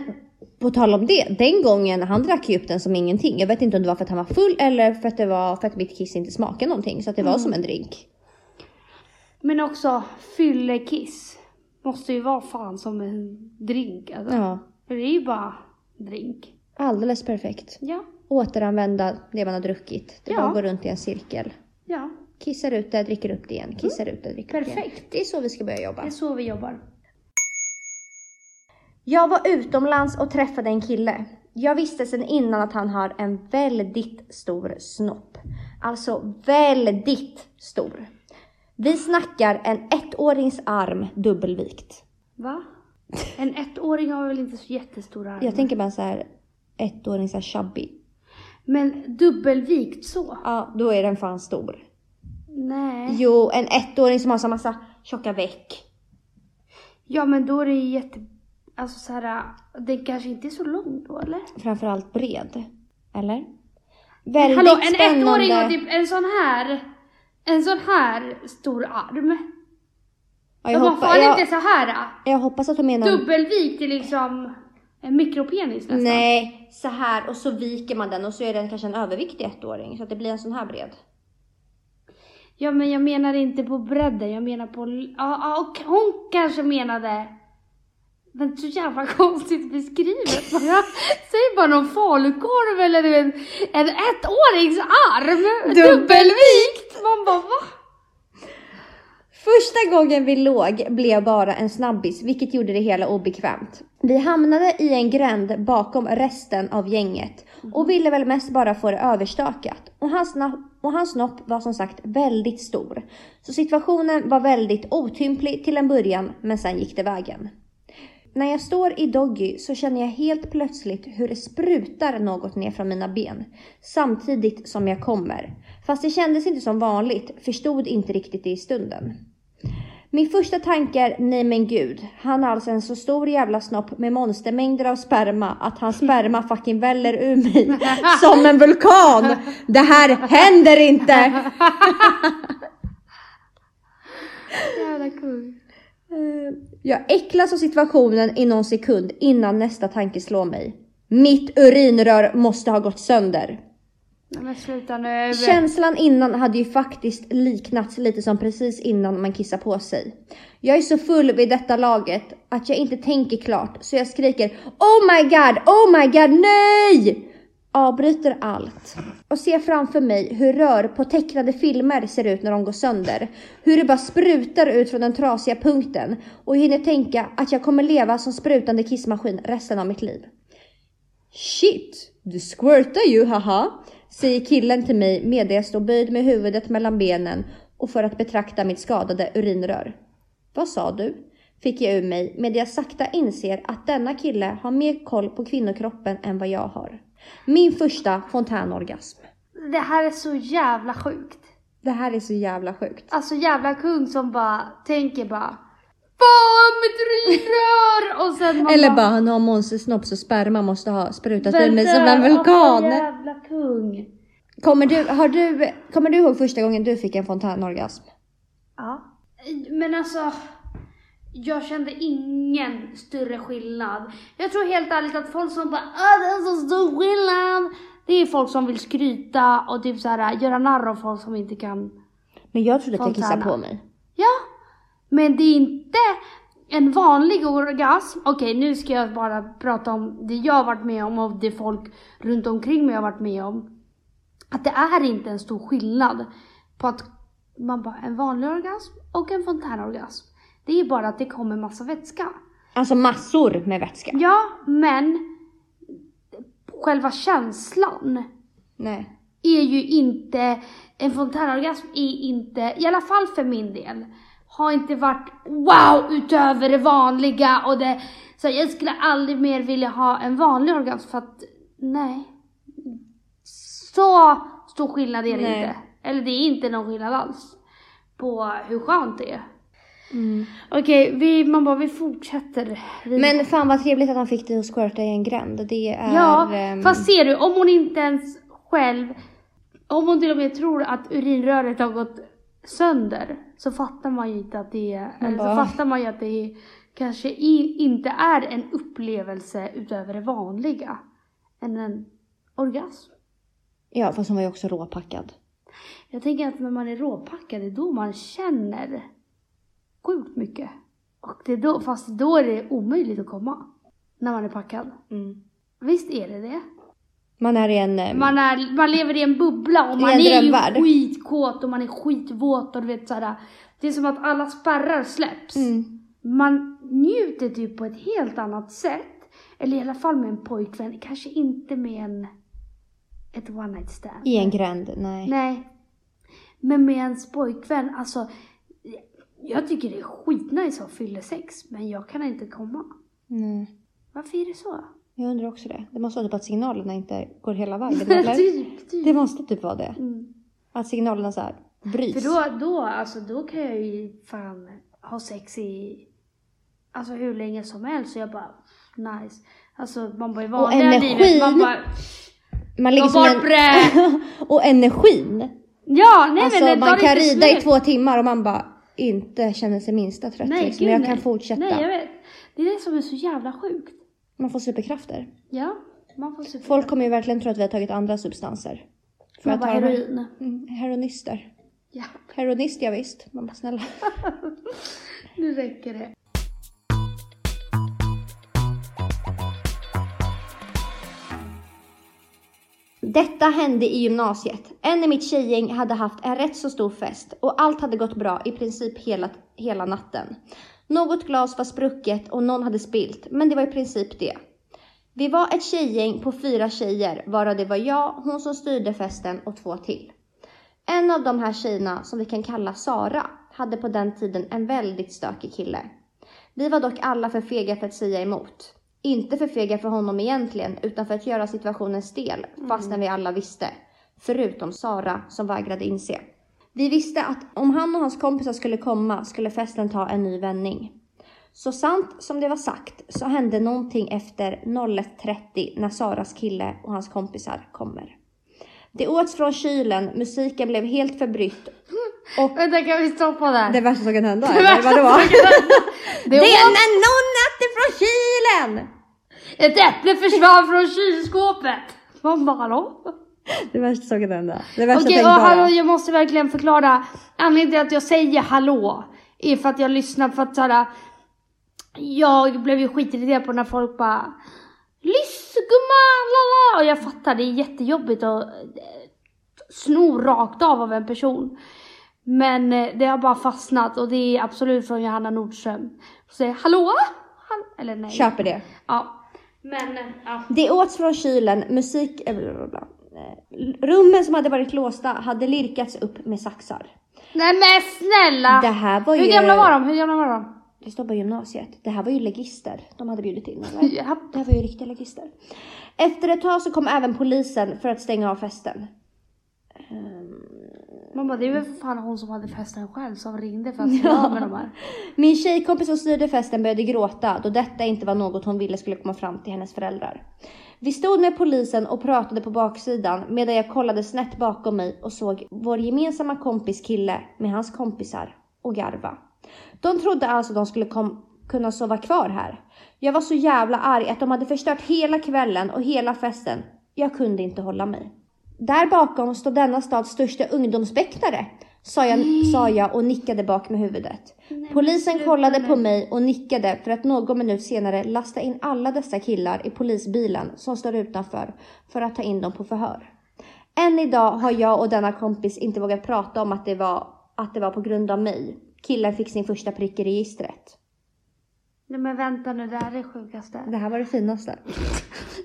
B: på tal om det, den gången han drack ju upp den som ingenting. Jag vet inte om det var för att han var full eller för att det var för att mitt kiss inte smakade någonting. Så att det
A: Mm.
B: var som en drink.
A: Men också fyllekiss. Måste ju vara fan som en drink alltså.
B: Ja,
A: För det är ju bara drink.
B: alldeles perfekt.
A: Ja.
B: Återanvända det man har druckit. Det
A: Ja.
B: bara går runt i en cirkel.
A: Ja.
B: Kissar ut det, dricker upp det igen. Kissar ut det, dricker upp det igen.
A: Mm. Perfekt.
B: Det är så vi ska börja jobba.
A: Det är så vi jobbar.
B: Jag var utomlands och träffade en kille. Jag visste sedan innan att han har en väldigt stor snopp. Alltså väldigt stor. Vi snackar en ettårings arm dubbelvikt.
A: Va? En ettåring har väl inte så jättestora armar?
B: Jag tänker bara så här ettåring så här chubby.
A: Men dubbelvikt så?
B: Ja, då är den fan stor.
A: Eh. Nej.
B: Jo, en ettåring som har så massa tjocka veck.
A: Ja men då är det ju jätte... Alltså så här, den kanske inte är så lång då eller?
B: Framförallt bred. Eller? Väldigt
A: Hallå, en
B: spännande.
A: ettåring och typ en sån här... En sån här stor arm.
B: ja,
A: De
B: jag,
A: har
B: hoppa,
A: fan
B: jag,
A: inte så här. ah.
B: jag hoppas att hon menar...
A: Dubbelvikt är liksom en mikropenis nästan.
B: Nej, så här och så viker man den och så är den kanske en överviktig ettåring så att det blir en sån här bred.
A: Ja men jag menar inte på bredden, jag menar på... Ja, ja, och hon kanske menade... Men så jävla konstigt beskrivet bara. Säg bara någon falukorv eller du vet, en ettårings arm! Dubbelvikt! Man bara va?
B: Första gången vi låg blev bara en snabbis vilket gjorde det hela obekvämt. Vi hamnade i en gränd bakom resten av gänget och ville väl mest bara få det överstökat. Och hans, na- och hans snopp var som sagt väldigt stor. Så situationen var väldigt otymplig till en början men sen gick det vägen. När jag står i Doggy så känner jag helt plötsligt hur det sprutar något ner från mina ben samtidigt som jag kommer. Fast det kändes inte som vanligt, förstod inte riktigt det i stunden. Min första tanke är, nej men gud, han har alltså en så stor jävla snopp med monstermängder av sperma att hans sperma fucking väller ur mig som en vulkan. Det här händer inte! Eh,
A: Jävla kung.
B: Eh, Jag äcklas av situationen i någon sekund innan nästa tanke slår mig. Mitt urinrör måste ha gått sönder.
A: Nej men sluta nu.
B: Känslan innan hade ju faktiskt liknats lite som precis innan man kissar på sig. Jag är så full vid detta laget att jag inte tänker klart så jag skriker Oh my god, oh my god, nej! Avbryter allt och ser framför mig hur rör på tecknade filmer ser ut när de går sönder. Hur det bara sprutar ut från den trasiga punkten och jag hinner tänka att jag kommer leva som sprutande kissmaskin resten av mitt liv. Shit, du squirtar ju haha, säger killen till mig medan jag står böjd med huvudet mellan benen och för att betrakta mitt skadade urinrör. Vad sa du? Fick jag ur mig medan jag sakta inser att denna kille har mer koll på kvinnokroppen än vad jag har. Min första fontänorgasm.
A: Det här är så jävla sjukt.
B: Det här är så jävla sjukt.
A: Alltså jävla kung som bara tänker bara Fan mitt urinrör! Och sen man
B: Eller bara han har monstersnopp så sperma måste ha sprutat ur mig som
A: "Vänta,
B: en
A: alltså,
B: vulkan.
A: jävla kung.
B: Kommer du, har du, kommer du ihåg första gången du fick en fontänorgasm?
A: Ja. Men alltså, jag kände ingen större skillnad. Jag tror helt ärligt att folk som bara ah det är så stor skillnad. Det är folk som vill skryta och typ så här, göra narr av folk som inte kan
B: Men jag trodde att jag kissade
A: Fontana.
B: på mig.
A: Ja, men det är inte en vanlig orgasm. Okej, nu ska jag bara prata om det jag har varit med om och det folk runt omkring mig har varit med om. Att det är inte en stor skillnad på att man bara, en vanlig orgasm och en fontänorgasm. Det är bara att det kommer massa vätska.
B: Alltså massor med vätska.
A: Ja, men själva känslan
B: Nej.
A: är ju inte, en fontänorgasm är inte, i alla fall för min del, har inte varit wow utöver det vanliga och det, så jag skulle aldrig mer vilja ha en vanlig orgasm för att, nej. Så stor skillnad är det
B: Nej.
A: inte. Eller det är inte någon skillnad alls på hur skönt det är. Mm. Okej, vi, man bara vi fortsätter. Vi-
B: Men fan vad trevligt att han fick dig att squirta i en gränd. Det är...
A: Ja,
B: ehm,
A: fast ser du, om hon inte ens själv, om hon till och med tror att urinröret har gått sönder, så fattar man ju inte att det är, eller så
B: bara-
A: fattar man ju att det är, kanske i, inte är en upplevelse utöver det vanliga, än en orgasm.
B: Ja, fast hon var ju också råpackad.
A: Jag tänker att när man är råpackad, det är då man känner sjukt mycket. Och det är då, fast då är det omöjligt att komma, när man är packad.
B: Mm.
A: Visst är det det?
B: Man är i en... ehm,
A: Man, är, man lever i en bubbla och man
B: en
A: är ju
B: drömvärld.
A: skitkåt och man är skitvåt och du vet såhär. Det är som att alla spärrar släpps.
B: Mm.
A: Man njuter typ på ett helt annat sätt. Eller i alla fall med en pojkvän. Kanske inte med en... Ett one night stand.
B: I en gränd, nej.
A: Nej. Men med ens pojkvän, alltså. Jag tycker det är skitnice att ha fyllesex, men jag kan inte komma.
B: nej.
A: Varför är det så?
B: Jag undrar också det. Det måste vara typ att signalerna inte går hela vägen. Eller?
A: typ, typ.
B: Det måste typ vara det.
A: Mm.
B: Att signalerna så här bryts.
A: För då, då, alltså, då kan jag ju fan ha sex i alltså, hur länge som helst. Så jag bara, nice. Alltså man bara i vanliga
B: energin.
A: livet, man bara,
B: man
A: ta
B: ligger som
A: bort
B: en...
A: det!
B: och energin.
A: Ja, nej
B: alltså
A: men det tar
B: man kan
A: inte
B: rida
A: slut.
B: i två timmar och man bara inte känner sig minsta trött.
A: Nej,
B: liksom.
A: gud,
B: jag
A: nej.
B: kan fortsätta.
A: Nej, jag vet. Det är det som är så jävla sjukt.
B: Man får superkrafter.
A: Ja, man får se.
B: Folk kommer ju verkligen tro att vi har tagit andra substanser. För
A: man
B: att
A: bara
B: ta de här-
A: heroin.
B: Mm, heroinister.
A: Ja,
B: Heroinist, ja, visst. Man bara snälla.
A: nu räcker det.
B: Detta hände i gymnasiet. En i mitt tjejgäng hade haft en rätt så stor fest och allt hade gått bra i princip hela, hela natten. Något glas var sprucket och någon hade spilt, men det var i princip det. Vi var ett tjejgäng på fyra tjejer, varav det var jag, hon som styrde festen och två till. En av de här tjejerna, som vi kan kalla Sara, hade på den tiden en väldigt stökig kille. Vi var dock alla för fega för att säga emot. Inte för fega för honom egentligen, utan för att göra situationen stel, fastän vi alla visste. Förutom Sara, som vägrade inse. Vi visste att om han och hans kompisar skulle komma skulle festen ta en ny vändning. Så sant som det var sagt så hände någonting efter 01.30 när Saras kille och hans kompisar kommer. Det åts från kylen, musiken blev helt förbrytt.
A: Vänta, kan vi stoppa där?
B: Det värsta som kan hända,
A: eller värsta vadå?
B: Det
A: som Det
B: är
A: var-
B: när någon äter från kylen!
A: Ett äpple försvann från kylskåpet! Man bara, hallå?
B: Det värsta som kan hända. Det
A: Okej, och hallå, jag måste verkligen förklara. Anledningen till att jag säger hallå är för att jag lyssnar för att såhär, jag blev ju skitirriterad på när folk bara Lyss gumman, la, la." Och jag fattar, det är jättejobbigt att eh, sno rakt av av en person. Men eh, det har bara fastnat och det är absolut från Johanna Nordström. Så säger hallå? Han, eller nej.
B: Köper det.
A: Ja. Men, eh, ja.
B: Det åts från kylen, musik... eh, bla, bla, bla. Eh, Rummen som hade varit låsta hade lirkats upp med saxar.
A: Nej men snälla!
B: Det här var ju...
A: Hur gamla var de? Hur gamla var de?
B: Det står på gymnasiet. Det här var ju legister de hade bjudit in eller? Det här var ju riktiga legister. Efter ett tag så kom även polisen för att stänga av festen.
A: Man bara, det är väl för fan hon som hade festen själv som ringde för att se av Alltså, med de här.
B: Min tjejkompis som styrde festen började gråta då detta inte var något hon ville skulle komma fram till hennes föräldrar. Vi stod med polisen och pratade på baksidan medan jag kollade snett bakom mig och såg vår gemensamma kompis kille med hans kompisar och garva. De trodde alltså de skulle kom- kunna sova kvar här. Jag var så jävla arg att de hade förstört hela kvällen och hela festen. Jag kunde inte hålla mig. Där bakom stod denna stads största ungdomsbäktare Sa jag, sa jag och nickade bak med huvudet.
A: men
B: Polisen
A: sluta
B: kollade på
A: nu.
B: mig och nickade för att någon minut senare lasta in alla dessa killar i polisbilen som står utanför för att ta in dem på förhör. Än idag har jag och denna kompis inte vågat prata om att det var, att det var på grund av mig. Killen fick sin första prick i registret.
A: Nej men vänta nu, det här är det sjukaste.
B: Det här var det finaste.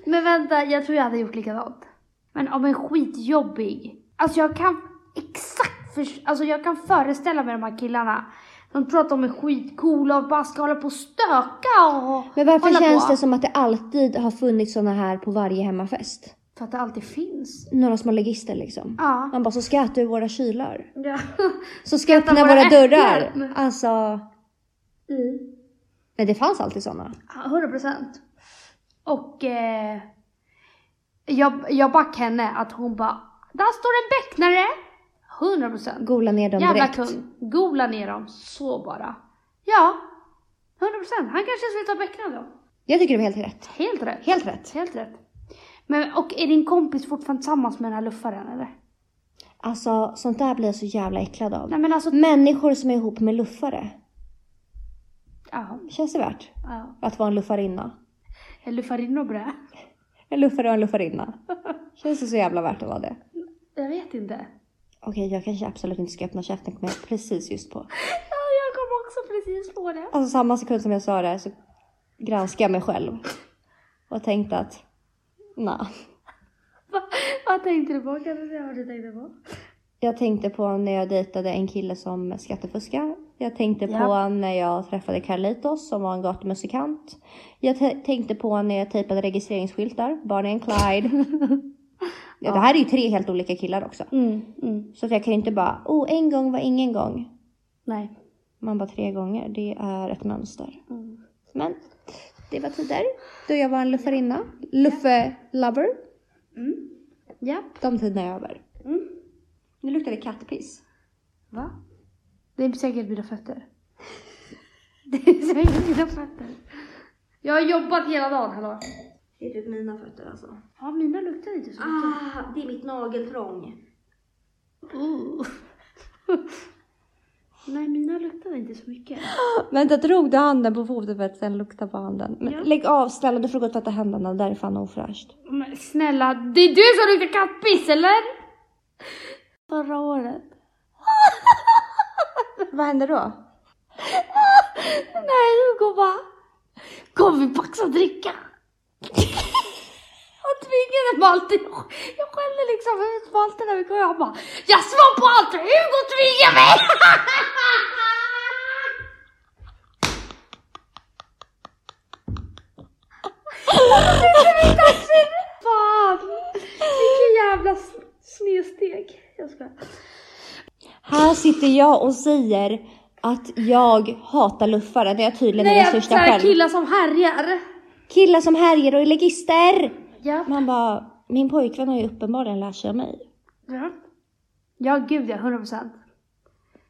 A: Men vänta, jag tror jag hade gjort likadant. Men om en skitjobbig. Alltså jag kan exakt för, alltså jag kan föreställa mig de här killarna. De tror att de är skitcoola och bara ska hålla på och stöka och
B: Men varför
A: hålla
B: känns
A: på.
B: det som att det alltid har funnits såna här på varje hemmafest?
A: För att det alltid finns.
B: Några små legister liksom.
A: Ja.
B: Man bara, så ska jag äta ur våra kylar.
A: ja.
B: Så ska jag öppna
A: våra
B: våra, dörrar.
A: äpplen.
B: Alltså,
A: Mm.
B: nej det fanns alltid såna.
A: 100 procent. Och eh, jag, jag back henne att hon bara, där står en becknare. 100 procent.
B: Gola ner dem
A: Jävla
B: direkt.
A: kung. Gola ner dem, så bara. Ja, 100 procent. Han kanske slutar beckna då.
B: Jag tycker det var helt rätt.
A: Helt rätt.
B: Helt rätt.
A: Helt rätt. Men, och är din kompis fortfarande tillsammans med den här luffaren eller?
B: Alltså, sånt där blir jag så jävla äcklad av.
A: Nej men alltså,
B: Människor som är ihop med luffare.
A: ja.
B: Känns det värt
A: ja.
B: att vara en luffarinna?
A: En luffarinna och brä.
B: En luffare och en luffarinna. Känns det så jävla värt att vara det?
A: Jag vet inte.
B: Okej, jag kanske absolut inte ska öppna käften kom jag precis just på.
A: Ja, jag kom också precis på det.
B: Alltså samma sekund som jag sa det så granskade jag mig själv. Och tänkte att, nej.
A: Vad, vad tänkte du på? Kan du säga vad du tänkte på?
B: Jag tänkte på när jag dejtade en kille som skattefuskar. Jag tänkte
A: Ja.
B: på när jag träffade Carlitos som var en gatumusikant. Jag tä- tänkte på när jag tejpade registreringsskyltar, Bonnie and Clyde. ja, det här är ju tre helt olika killar också.
A: Mm, mm.
B: Så att jag kan ju inte bara, oh en gång var ingen gång.
A: Nej.
B: Man bara tre gånger, det är ett mönster.
A: Mm.
B: Men det var tider då jag var en luffarinna. Luffe-lover.
A: Japp.
B: De tiderna är över.
A: Mm.
B: Nu luktar det kattpiss.
A: Va? Det är säkert mina fötter. Det är säkert mina fötter. Jag har jobbat hela dagen, hallå.
B: Det är typ mina fötter alltså.
A: Ja, mina luktar inte så mycket.
B: Ah, det är mitt nageltrång.
A: Uh. Nej, mina luktar inte så mycket.
B: Vänta, drog du handen på foten för att sen lukta på handen? Men
A: Ja.
B: Lägg av snälla, du får gå och tvätta händerna. Det där är fan ofräscht.
A: Men snälla, det är du som luktar kattpiss, eller? Förra året.
B: Vad händer då?
A: Nej, Hugo bara. Kom vi paxa dricka? Han tvingade Malte. Jag skällde liksom ut Malte när vi kom. Jag bara. Jag svor på allt för Hugo tvingar mig. Fan! Vilken jävla s- snedsteg. Jag skojar.
B: Här sitter jag och säger att jag hatar luffare. Det är jag tydligen
A: Nej,
B: är den
A: jag
B: största
A: såhär
B: själv.
A: killar som härjar.
B: Killar som härjer och är legister.
A: Ja.
B: Man bara, min pojkvän har ju uppenbarligen lärt sig av mig.
A: Ja. Ja, gud ja. 100 procent.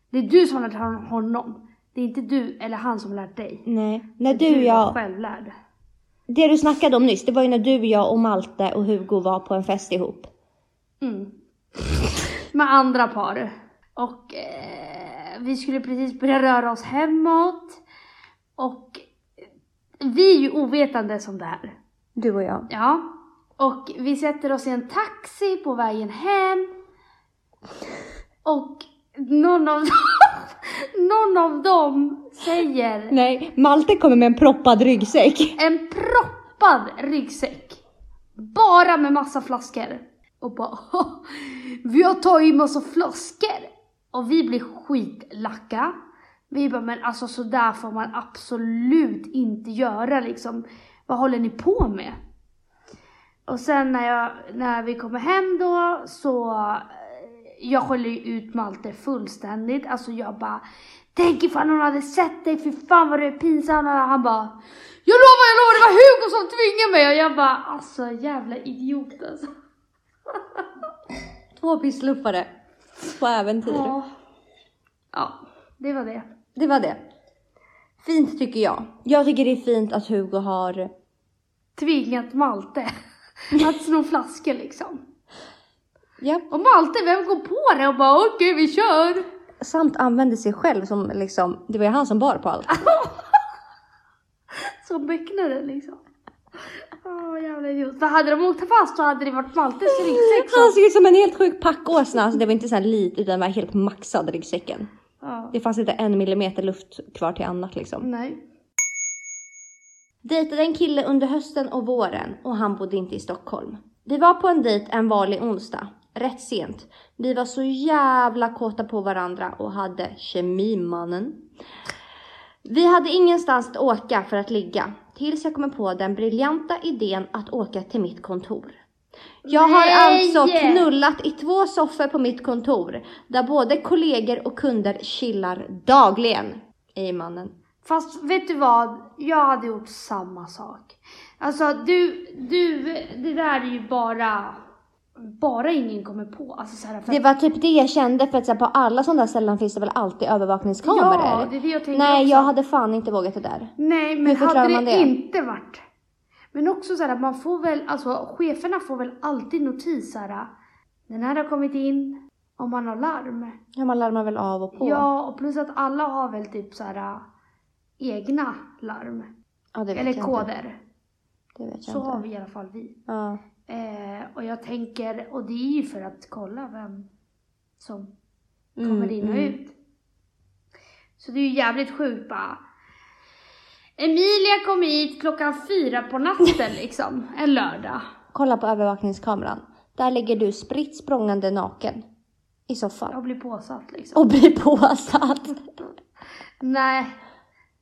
A: Det är du som har lärt honom. Det är inte du eller han som har lärt dig.
B: Nej, när
A: Det är
B: du och
A: var
B: jag,
A: självlärd.
B: det du snackade om nyss, det var ju när du, och jag och Malte och Hugo var på en fest ihop.
A: Mm. Med andra par. Och eh, vi skulle precis börja röra oss hemåt. Och eh, vi är ju ovetande som det här.
B: Du och jag.
A: Ja. Och vi sätter oss i en taxi på vägen hem. Och någon av dem, någon av dem säger
B: Nej, Malte kommer med en proppad ryggsäck.
A: en proppad ryggsäck. Bara med massa flaskor. Och bara vi har tagit massa flaskor. Och vi blir skitlacka. Vi bara, men alltså sådär får man absolut inte göra liksom. Vad håller ni på med? Och sen när, jag, när vi kommer hem då så eh, jag skäller ju ut Malte fullständigt. Alltså jag bara Tänk ifall hon hade sett dig, fy fan vad du är pinsam. Och han bara Jag lovar, jag lovar, det var Hugo som tvingade mig. Och jag bara alltså jävla idiot alltså.
B: Två pissluffare på äventyr.
A: Ja. ja, det var det.
B: Det var det. Fint tycker jag. Jag tycker det är fint att Hugo har...
A: Tvingat Malte att sno flaskor liksom.
B: Ja.
A: Och Malte, vem går på det och bara okej vi kör?
B: samt använde sig själv som liksom, det var ju han som bar på allt.
A: Så becknade liksom. Åh, jävla idiot. För hade de åkt fast så hade det varit Maltes ryggsäck
B: Han
A: som...
B: såg ut som en helt sjuk packåsna, alltså det var inte så här lite utan det var helt maxad ryggsäcken.
A: Ja.
B: Det fanns inte en millimeter luft kvar till annat liksom.
A: Nej.
B: Dejtade en kille under hösten och våren och han bodde inte i Stockholm. Vi var på en dejt en vanlig onsdag, rätt sent. Vi var så jävla kåta på varandra och hade kemimannen. Vi hade ingenstans att åka för att ligga, tills jag kom på den briljanta idén att åka till mitt kontor. Jag har
A: Nej!
B: alltså knullat i två soffor på mitt kontor, där både kollegor och kunder chillar dagligen. Ej mannen.
A: Fast vet du vad? Jag hade gjort samma sak. Alltså du, du, det där är ju bara... Bara ingen kommer på. Alltså så här, för
B: Det var typ det jag kände för att så här, på alla sådana där ställen finns det väl alltid övervakningskameror?
A: Ja, det är det jag tänker
B: Nej,
A: också.
B: jag hade fan inte vågat det där.
A: Nej,
B: Hur
A: men
B: förklarar
A: hade det,
B: man det?
A: inte varit... Men också så här, man får väl, alltså cheferna får väl alltid notis så här. Den här har kommit in, om man har larm.
B: Ja, man larmar väl av och på?
A: Ja, och plus att alla har väl typ så här egna larm.
B: Ja, det vet
A: Eller
B: jag inte.
A: koder.
B: Det vet jag
A: Så
B: inte.
A: har vi i alla fall vi.
B: Ja.
A: Eh, och jag tänker, och det är ju för att kolla vem som
B: Mm,
A: kommer in och
B: mm.
A: ut. Så det är ju jävligt sjukt bara. Emilia kom hit klockan fyra på natten liksom, en lördag.
B: Kolla på övervakningskameran. Där ligger du spritt språngande naken. I soffan.
A: Jag blir påsatt liksom.
B: Och blir påsatt.
A: Nej,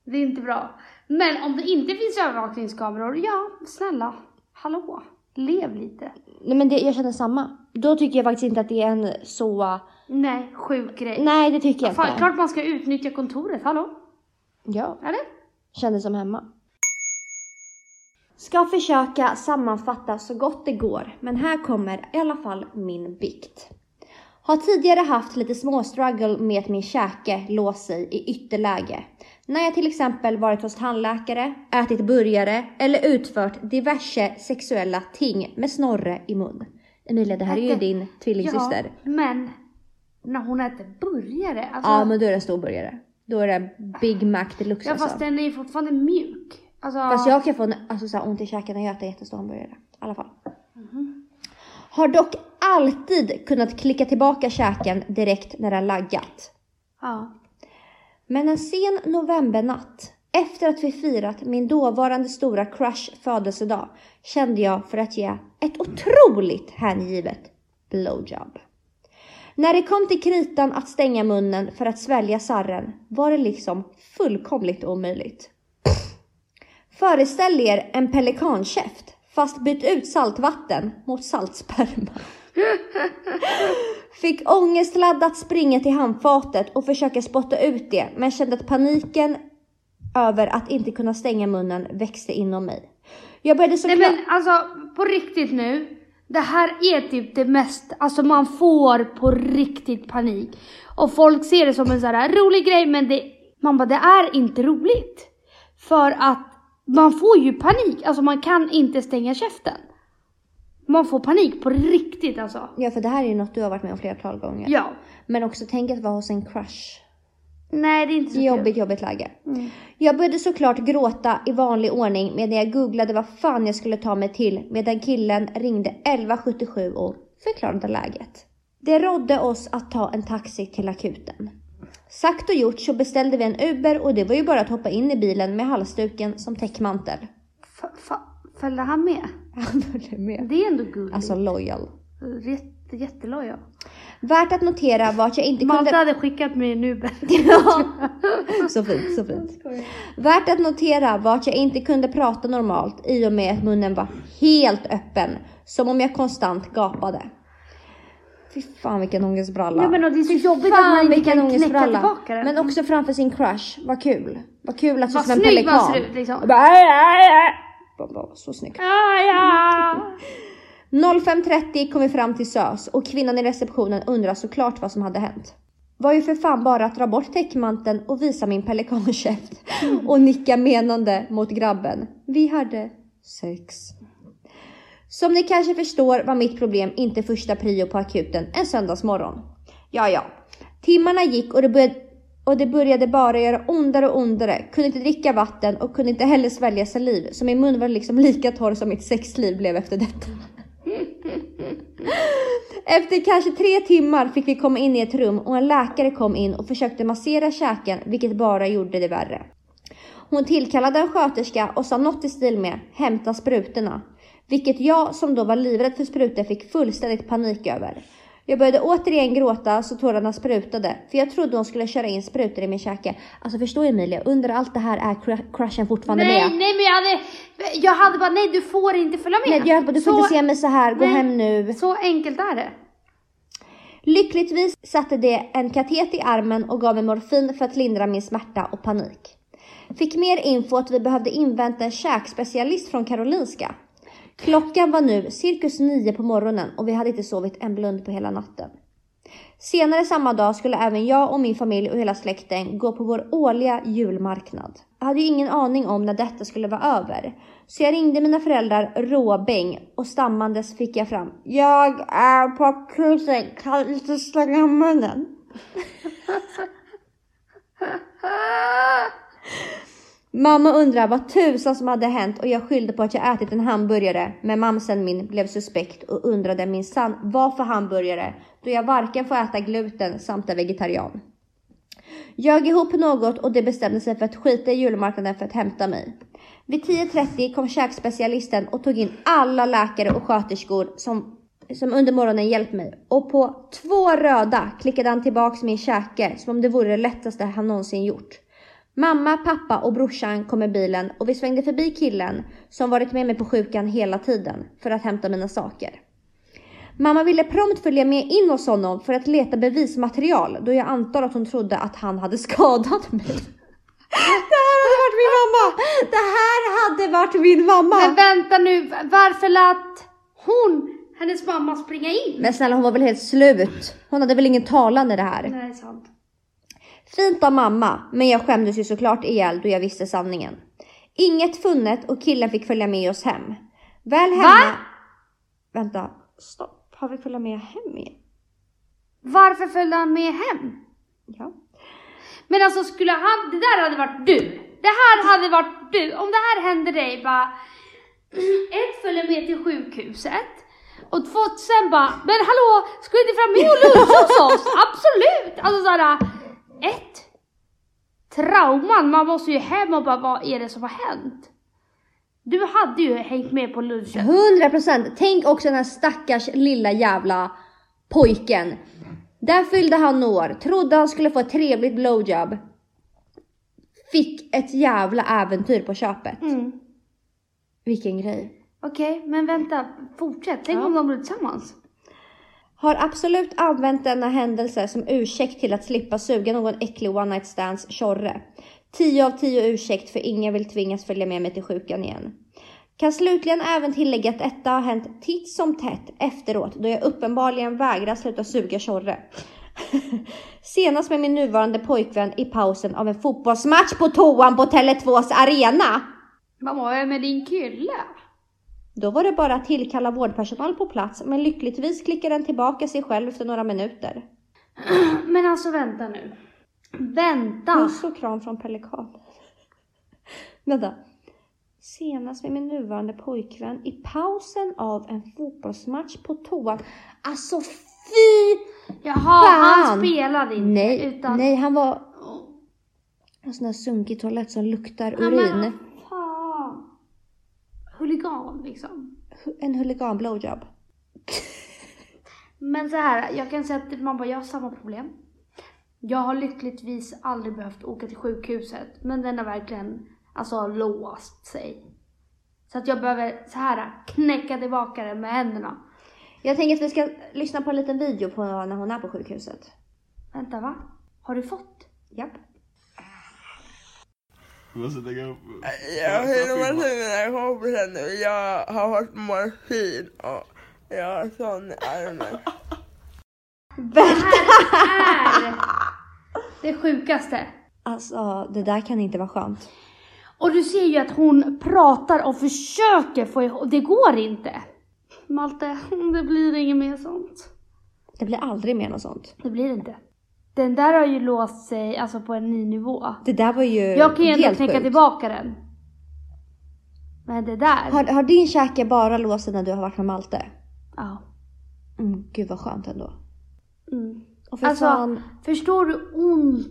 A: det är inte bra. Men om det inte finns övervakningskameror, ja, snälla, hallå, lev lite.
B: Nej men det, jag känner samma. Då tycker jag faktiskt inte att det är en så...
A: Nej, sjuk grej.
B: Nej det tycker jag
A: Fan,
B: inte.
A: klart man ska utnyttja kontoret, hallå?
B: Ja.
A: Eller?
B: Kändes som hemma. Ska försöka sammanfatta så gott det går, men här kommer i alla fall min bikt. Har tidigare haft lite små struggle med att min käke låst sig i ytterläge. När jag till exempel varit hos tandläkare, ätit burgare eller utfört diverse sexuella ting med Snorre i mun. Emilia, det här är ju
A: Äter-
B: din tvillingsyster.
A: Ja, men när hon äter burgare, alltså.
B: Ja, men då är det en stor burgare. Då är det Big Mac deluxe
A: ja, fast
B: alltså.
A: den är ju fortfarande mjuk. Alltså,
B: Fast jag kan få en, alltså, så här, ont i käken när jag äter jättestor hamburgare. I alla fall. Har dock alltid kunnat klicka tillbaka käken direkt när den laggat.
A: ja.
B: Men en sen novembernatt, efter att vi firat min dåvarande stora crush födelsedag, kände jag för att ge ett otroligt hängivet blowjob. När det kom till kritan att stänga munnen för att svälja sarren var det liksom fullkomligt omöjligt. Föreställ er en pelikankäft fast byt ut saltvatten mot saltsperma. Fick ångestladdat springa till handfatet och försöka spotta ut det men kände att paniken över att inte kunna stänga munnen växte inom mig. Jag började
A: Nej
B: såklart...
A: men alltså, på riktigt nu. Det här är typ det mest, alltså man får på riktigt panik. Och folk ser det som en sån här rolig grej men det, man bara det är inte roligt. För att man får ju panik, alltså man kan inte stänga käften. Man får panik på riktigt alltså.
B: Ja för det här är ju något du har varit med om flertal gånger.
A: Ja.
B: Men också tänk att vara hos en crush.
A: Nej det är inte så kul.
B: Jobbigt, jobbigt läge. Jag började såklart gråta i vanlig ordning medan jag googlade vad fan jag skulle ta mig till medan killen ringde 1177 och förklarade läget. Det rådde oss att ta en taxi till akuten. Sagt och gjort så beställde vi en Uber och det var ju bara att hoppa in i bilen med halsduken som täckmantel.
A: F- fa- Följde han med?
B: Han följde med.
A: Det är ändå gulligt.
B: Alltså lojal.
A: Jätte, jättelojal.
B: Värt att notera var att jag inte kunde...
A: Malte hade skickat mig en Uber.
B: Ja. Så fint, så fint. Värt att notera var att jag inte kunde prata normalt i och med att munnen var helt öppen. Som om jag konstant gapade. Fy fan vilken ångestbralla.
A: Ja, men och det är så
B: Fy
A: jobbigt att
B: fan,
A: man inte
B: vilken
A: kan knäcka
B: ångestbralla.
A: tillbaka den.
B: Men också framför sin crush. Vad kul. Vad kul att se ut
A: Vad
B: som en
A: snygg
B: pelikan.
A: man ser ut liksom.
B: Jag bara, "Aj, aj, aj." Bara, bara, Så snyggt.
A: Ah, ja.
B: 05.30 kom vi fram till SÖS och kvinnan i receptionen undrar såklart vad som hade hänt. Var ju för fan bara att dra bort täckmanteln och visa min pelikankäft och nicka menande mot grabben. Vi hade sex. Som ni kanske förstår var mitt problem inte första prio på akuten en söndagsmorgon. Ja, ja. Timmarna gick och det, började, och det började bara göra ondare och ondare. Kunde inte dricka vatten och kunde inte heller svälja saliv. Så min mun var liksom lika torr som mitt sexliv blev efter detta. Efter kanske tre timmar fick vi komma in i ett rum och en läkare kom in och försökte massera käken, vilket bara gjorde det värre. Hon tillkallade en sköterska och sa något i stil med “hämta sprutorna”, vilket jag som då var livrädd för sprutor fick fullständigt panik över. Jag började återigen gråta så tårarna sprutade, för jag trodde hon skulle köra in sprutor i min käke. Alltså förstå Emilia, under allt det här är cru- crushen fortfarande
A: Nej,
B: med.
A: nej men jag hade, jag hade bara, nej du får inte följa med.
B: Nej, jag höll på, du får
A: så,
B: inte se mig så här, gå
A: Nej.
B: hem nu.
A: så enkelt är det.
B: Lyckligtvis satte det en katet i armen och gav mig morfin för att lindra min smärta och panik. Fick mer info att vi behövde invänta en käkspecialist från Karolinska. Klockan var nu cirkus nio på morgonen och vi hade inte sovit en blund på hela natten. Senare samma dag skulle även jag och min familj och hela släkten gå på vår årliga julmarknad. Jag hade ju ingen aning om när detta skulle vara över. Så jag ringde mina föräldrar råbäng och stammandes fick jag fram. Jag är på kursen, kan du inte stänga munnen? Mamma undrar vad tusan som hade hänt och jag skyllde på att jag ätit en hamburgare. Men mamsen min blev suspekt och undrade minsann vad för hamburgare då jag varken får äta gluten samt är vegetarian. Jag ihop något och det bestämde sig för att skita i julmarknaden för att hämta mig. Vid 10.30 kom käkspecialisten och tog in alla läkare och sköterskor som, som under morgonen hjälpt mig. Och på två röda klickade han tillbaks min käke som om det vore det lättaste han någonsin gjort. Mamma, pappa och brorsan kom i bilen och vi svängde förbi killen som varit med mig på sjukan hela tiden för att hämta mina saker. Mamma ville prompt följa med in hos honom för att leta bevismaterial då jag antar att hon trodde att han hade skadat mig. Det här hade varit min mamma! Det här hade varit min mamma!
A: Men vänta nu, varför lät hon hennes mamma springa in?
B: Men snälla hon var väl helt slut? Hon hade väl ingen talan i det här?
A: Nej, sant.
B: Fint av mamma, men jag skämdes ju såklart ihjäl då jag visste sanningen. Inget funnet och killen fick följa med oss hem. Väl hemma...
A: Va?
B: Vänta, stopp. Har vi följa med hem igen?
A: Varför följde han med hem?
B: Ja.
A: Men alltså skulle han, det där hade varit du. Det här hade varit du. Om det här hände dig bara, ett följer med till sjukhuset och två, sen bara, men hallå, ska du inte fram med och luncha hos oss? Absolut! Alltså såhär, ett, trauman, man måste ju hem och bara, vad är det som har hänt? Du hade ju hängt med på lunchen.
B: 100 procent. Tänk också den här stackars lilla jävla pojken. Där fyllde han år, trodde han skulle få ett trevligt blowjob. Fick ett jävla äventyr på köpet.
A: Mm.
B: Vilken grej.
A: Okej, men vänta, fortsätt. Tänk
B: Ja.
A: om de blir tillsammans.
B: Har absolut använt denna händelse som ursäkt till att slippa suga någon äcklig one night stands tjorre. 10 av 10 ursäkt för ingen vill tvingas följa med mig till sjukan igen. Kan slutligen även tillägga att detta har hänt titt som tätt efteråt då jag uppenbarligen vägrar sluta suga tjorre. Senast med min nuvarande pojkvän i pausen av en fotbollsmatch på toan på Tele2s arena.
A: Mamma, vad är med din kille?
B: Då var det bara att tillkalla vårdpersonal på plats men lyckligtvis klickade den tillbaka sig själv efter några minuter.
A: Men alltså vänta nu. Vänta!
B: Puss och kram från Pelikan. Vänta. Senast med min nuvarande pojkvän i pausen av en fotbollsmatch på toan. Alltså fy!
A: Jaha,
B: Fan.
A: han spelade inte.
B: Nej,
A: utan...
B: nej han var
A: Åh,
B: en sån där sunkig toalett som luktar
A: ja,
B: urin.
A: men Fan. Huligan liksom.
B: Hu- En huligan blowjob.
A: Men så här, jag kan säga att typ man bara, jag har samma problem. Jag har lyckligtvis aldrig behövt åka till sjukhuset, men den har verkligen alltså låst sig. Så att jag behöver så här knäcka tillbaka den med händerna.
B: Jag tänker att vi ska lyssna på en liten video på när hon är på sjukhuset.
A: Vänta va? Har du fått?
B: Japp.
C: Du måste lägga upp.
D: Jag har varit med mina kompisar nu. Jag har fått morfin och jag har sån i armen.
A: Är det sjukaste.
B: Alltså det där kan inte vara skönt.
A: Och du ser ju att hon pratar och försöker få ihop, det går inte. Malte, det blir inget mer sånt.
B: Det blir aldrig mer något sånt.
A: Det blir inte. Den där har ju låst sig alltså på en ny nivå.
B: Det där var ju
A: Jag kan ju ändå
B: helt
A: knäcka
B: sjukt.
A: tillbaka den. Men det där.
B: Har, har din käke bara låst sig när du har varit med Malte?
A: Ja.
B: Mm, gud vad skönt ändå.
A: Mm.
B: Och för
A: Alltså,
B: fan,
A: förstår du ont?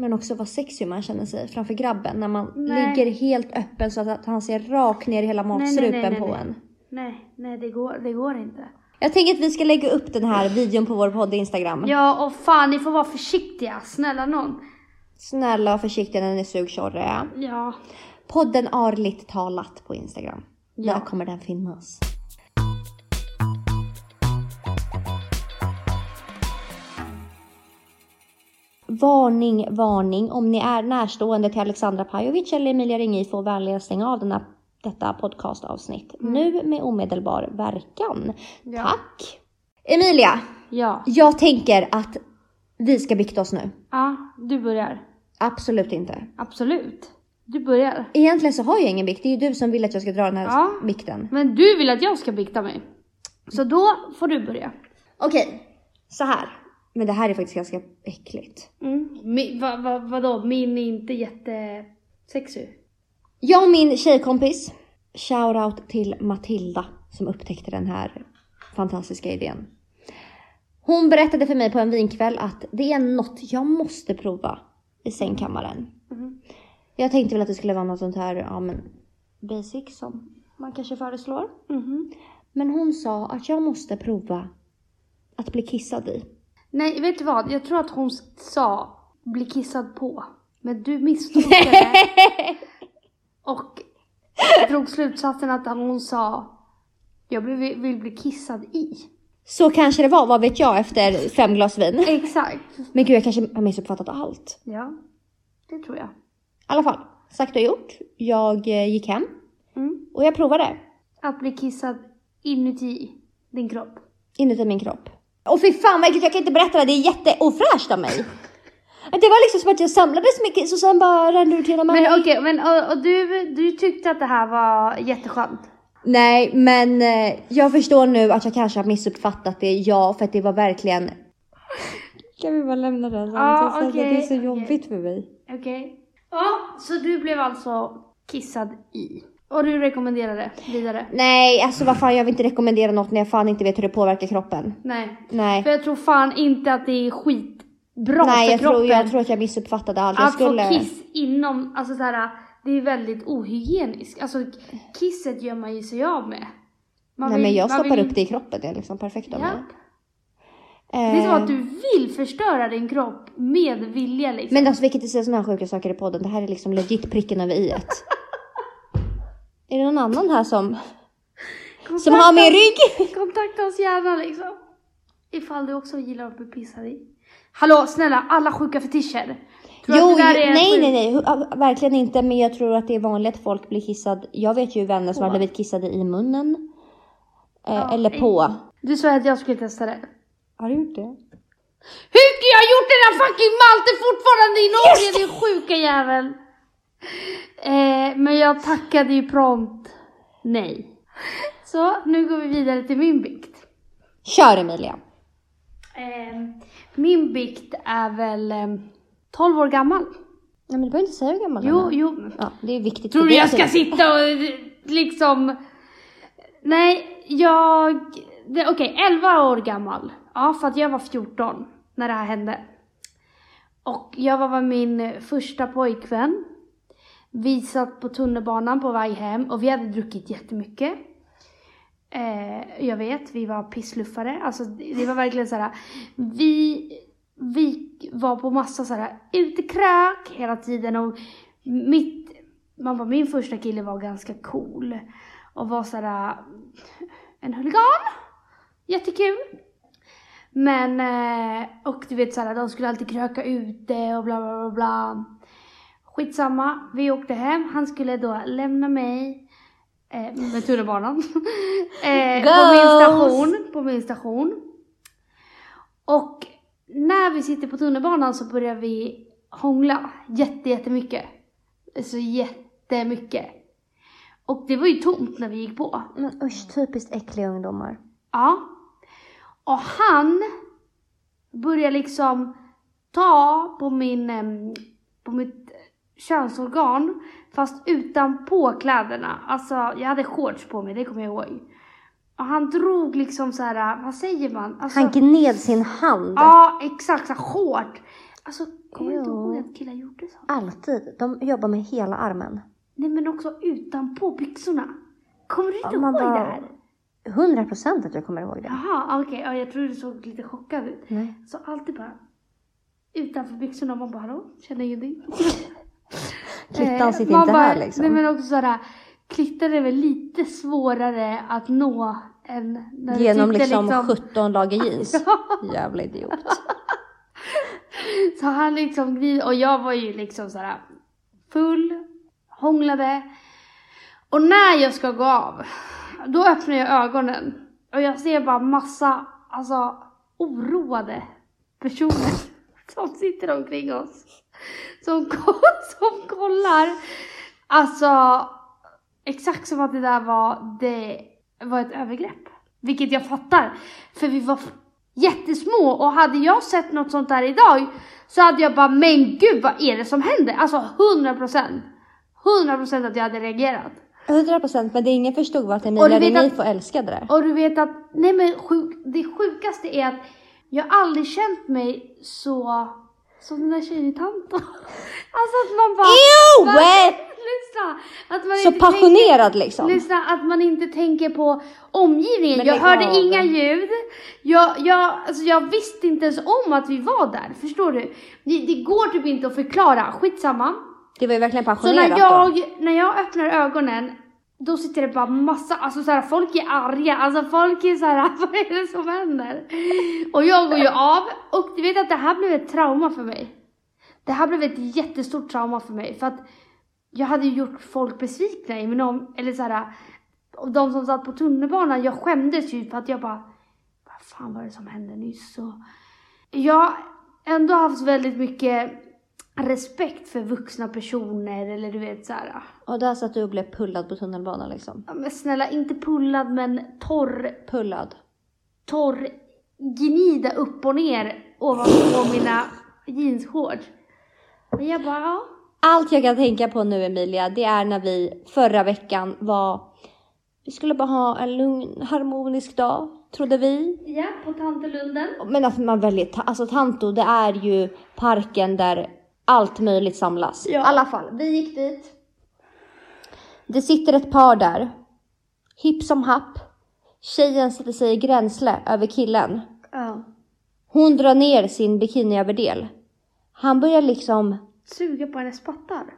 B: men också vad sexig man känner sig framför grabben när man
A: Nej.
B: ligger helt öppen så att att han ser rakt ner i hela matstrupen
A: nej, nej,
B: på
A: nej.
B: en.
A: Nej, nej det går, det går inte.
B: Jag tänker att vi ska lägga upp den här videon på vår podd Instagram.
A: Ja, och fan ni får vara försiktiga, snälla någon.
B: Snälla var försiktiga när ni sugtjorriga.
A: Ja.
B: Podden Arligt talat på Instagram. Där
A: Ja.
B: kommer den finnas. Varning, varning. Om ni är närstående till Alexandra Pajovic eller Emilia Ringi får vänligen stänga av denna, detta podcastavsnitt. Nu med omedelbar verkan.
A: Mm. Ja.
B: Tack! Emilia,
A: Ja.
B: jag tänker att vi ska bikta oss nu.
A: Ja, du börjar.
B: Absolut inte.
A: Absolut. Du börjar.
B: Egentligen så har jag ingen bikt. Det är ju du som vill att jag ska dra den här
A: Ja.
B: bikten.
A: Men du vill att jag ska bikta mig. Så då får du börja.
B: Okej, så här. Men det här är faktiskt ganska äckligt.
A: Mm. Mi, va, va, vadå, min är inte jättesexig?
B: Jag och min tjejkompis, shoutout till Matilda som upptäckte den här fantastiska idén. Hon berättade för mig på en vinkväll att det är något jag måste prova i sängkammaren.
A: Mhm.
B: Jag tänkte väl att det skulle vara något sånt här, ja men basic som man kanske föreslår.
A: Mhm.
B: Men hon sa att jag måste prova att bli kissad i.
A: Nej, vet du vad? Jag tror att hon sa bli kissad på. Men du misstolkade och drog slutsatsen att hon sa jag vill, vill bli kissad i.
B: Så kanske det var, vad vet jag, efter fem glas vin.
A: Exakt.
B: Men gud, jag kanske har missuppfattat allt.
A: Ja, det tror jag.
B: I alla fall, sagt och gjort. Jag eh, gick hem
A: Mm.
B: och jag provade
A: Att bli kissad inuti din kropp.
B: inuti min kropp. Och fy fan vad äckligt, jag kan inte berätta det, det är jätteofräscht av mig. Att Det var liksom som att jag samlade så mycket så sen bara rann det ut hela mig.
A: Men okej, men, och, och du, du tyckte att det här var jätteskönt?
B: Nej, men eh, jag förstår nu att jag kanske har missuppfattat det, ja, för att det var verkligen... Ah, Kan vi bara lämna det här
A: Ja, samtidigt? okej, Det är så okej. jobbigt
B: för mig.
A: Okej. Ja, så du blev alltså kissad i. Och du rekommenderar det vidare?
B: Nej, alltså vad fan, jag vill inte rekommendera något när jag fan inte vet hur det påverkar kroppen.
A: Nej.
B: Nej.
A: För jag tror fan inte att det är skitbra
B: Nej,
A: för
B: jag
A: kroppen.
B: tror, jag tror att jag missuppfattade allt. Jag
A: Att
B: skulle...
A: få kiss inom, alltså så här, det är väldigt ohygieniskt. Alltså kisset gör man ju sig av med. Man
B: Nej, men jag
A: man
B: stoppar
A: vill-
B: upp det i kroppen. Det är liksom perfekt av
A: Ja.
B: mig.
A: Det är som
B: Eh,
A: att du vill förstöra din kropp med vilja liksom.
B: Men alltså, vi kan inte säga sådana här sjuka saker i podden. Det här är liksom legit pricken över i ett. är det någon annan här som, som har min rygg?
A: Kontakta oss gärna liksom. Ifall du också gillar att bli pissad i. Hallå snälla, alla sjuka fetischer. Tror
B: Jo,
A: att det där är en
B: nej,
A: sjuk-
B: nej, nej. Hu- ah, Verkligen inte. Men jag tror att det är vanligt att folk blir kissad. Jag vet ju vänner som
A: På.
B: har blivit kissade i munnen. Eh,
A: Ja,
B: eller på.
A: Du sa att jag skulle testa det.
B: Har du gjort det?
A: Hur kan jag ha gjort den där fucking Malte fortfarande i Norge din sjuka jävel? Eh, men jag tackade ju prompt nej. Så nu går vi vidare till min bikt.
B: Kör Emilia.
A: Ehm, min bikt är väl ehm, 12 år gammal.
B: Nej, men du behöver inte säga hur gammal den
A: Jo,
B: är.
A: jo.
B: Ja, det är viktigt.
A: Tror
B: för
A: du
B: dig
A: jag
B: att
A: ska sitta och eh, liksom... Nej, jag... det- Okej, 11 år gammal. Ja, för att jag var 14 när det här hände. Och jag var med min första pojkvän. Vi satt på tunnelbanan på väg hem och vi hade druckit jättemycket. Eh, jag vet, vi var pissluffare. Alltså det var verkligen så här. Vi, vi var på massa så här utekrök hela tiden och mitt, man bara, min första kille var ganska cool och var så här en huligan. Jättekul. Men, eh, och du vet så här, de skulle alltid kröka ute och bla bla bla bla. Skitsamma, vi åkte hem. Han skulle då lämna mig eh, med tunnelbanan. eh, på min
B: Goals!
A: station. På min station. Och när vi sitter på tunnelbanan så börjar vi hångla jätte, jättemycket. Så jättemycket. Och det var ju tomt när vi gick på.
B: Men
A: Mm.
B: usch, typiskt äckliga ungdomar.
A: Ja. Och han börjar liksom ta på min, em, på mitt könsorgan fast utanpå kläderna. Alltså jag hade shorts på mig, det kommer jag ihåg. Och han drog liksom så här, vad säger man? Alltså,
B: Han gned sin hand.
A: Ja, exakt så här hårt. Alltså kommer du inte
B: Jo.
A: ihåg att killar gjorde så?
B: Alltid. De jobbar med hela armen.
A: Nej men också utanpå byxorna. Kommer du inte
B: Man
A: ihåg
B: bara-
A: det här?
B: 100 procent att jag kommer ihåg det.
A: Jaha, okej. Ja, jag tror du såg lite chockad ut.
B: Nej.
A: Så alltid bara utanför byxorna och man bara hallå, känner ingenting.
B: Klittan
A: Eh,
B: sitter
A: man
B: inte
A: bara-
B: här liksom.
A: Nej men också sådär, klittan är väl lite svårare att nå än när du
B: Genom
A: sitter
B: liksom 17 lager jeans. Jävla idiot.
A: Så han liksom glider och jag var ju liksom såhär full, hånglade. Och när jag ska gå av, då öppnar jag ögonen och jag ser bara massa, alltså oroade personer som sitter omkring oss. Som, ko- som kollar. Alltså, exakt som att det där var, det var ett övergrepp. Vilket jag fattar, för vi var f- jättesmå och hade jag sett något sånt där idag så hade jag bara, men gud vad är det som händer? Alltså 100%. 100% att jag hade reagerat.
B: 100 procent, men det ingen förstod var att
A: Och du
B: Emilia
A: vet att-
B: Renifo älskade det.
A: Och du vet att, nej men sjuk, det sjukaste är att jag aldrig känt mig så som den där tjejen i Tanto. Alltså att man bara...
B: Ew!
A: Va- Lyssna! Att man
B: Så
A: inte tänker-
B: passionerad liksom.
A: Lyssna, att man inte tänker på omgivningen.
B: Men
A: jag
B: lägg
A: hörde
B: av.
A: inga ljud. Jag, jag, alltså jag visste inte ens om att vi var där. Förstår du? Det, det går typ inte att förklara. Skitsamma.
B: Det var ju verkligen
A: Så
B: passionerat
A: när
B: då.
A: jag, när jag öppnar ögonen, då sitter det bara massa, alltså såhär, folk är arga, alltså folk är såhär, vad är det som händer? Och jag går ju av, och du vet att det här blev ett trauma för mig. Det här blev ett jättestort trauma för mig, för att jag hade ju gjort folk besvikna i min om, eller såhär, och de som satt på tunnelbanan, jag skämdes ju för att jag bara, vad fan var det som hände nyss? Och jag har ändå haft väldigt mycket respekt för vuxna personer eller du vet såhär.
B: Och där satt du och blev pullad på tunnelbanan liksom.
A: Ja, men snälla inte pullad men torr,
B: Pullad.
A: torr gnida upp och ner ovanpå mina jeansshorts. Men jag bara ja.
B: Allt jag kan tänka på nu Emilia, det är när vi förra veckan var... Vi skulle bara ha en lugn, harmonisk dag, trodde vi.
A: Ja, på Tantelunden.
B: Men att man väljer... ta- Alltså Tanto, det är ju parken där allt möjligt samlas.
A: Ja.
B: I alla fall, vi gick dit. Det sitter ett par där. Hipp som happ. Tjejen sätter sig i gränsle över killen.
A: Ja.
B: Hon drar ner sin bikiniöverdel. Han börjar liksom
A: Suga på hennes pattar.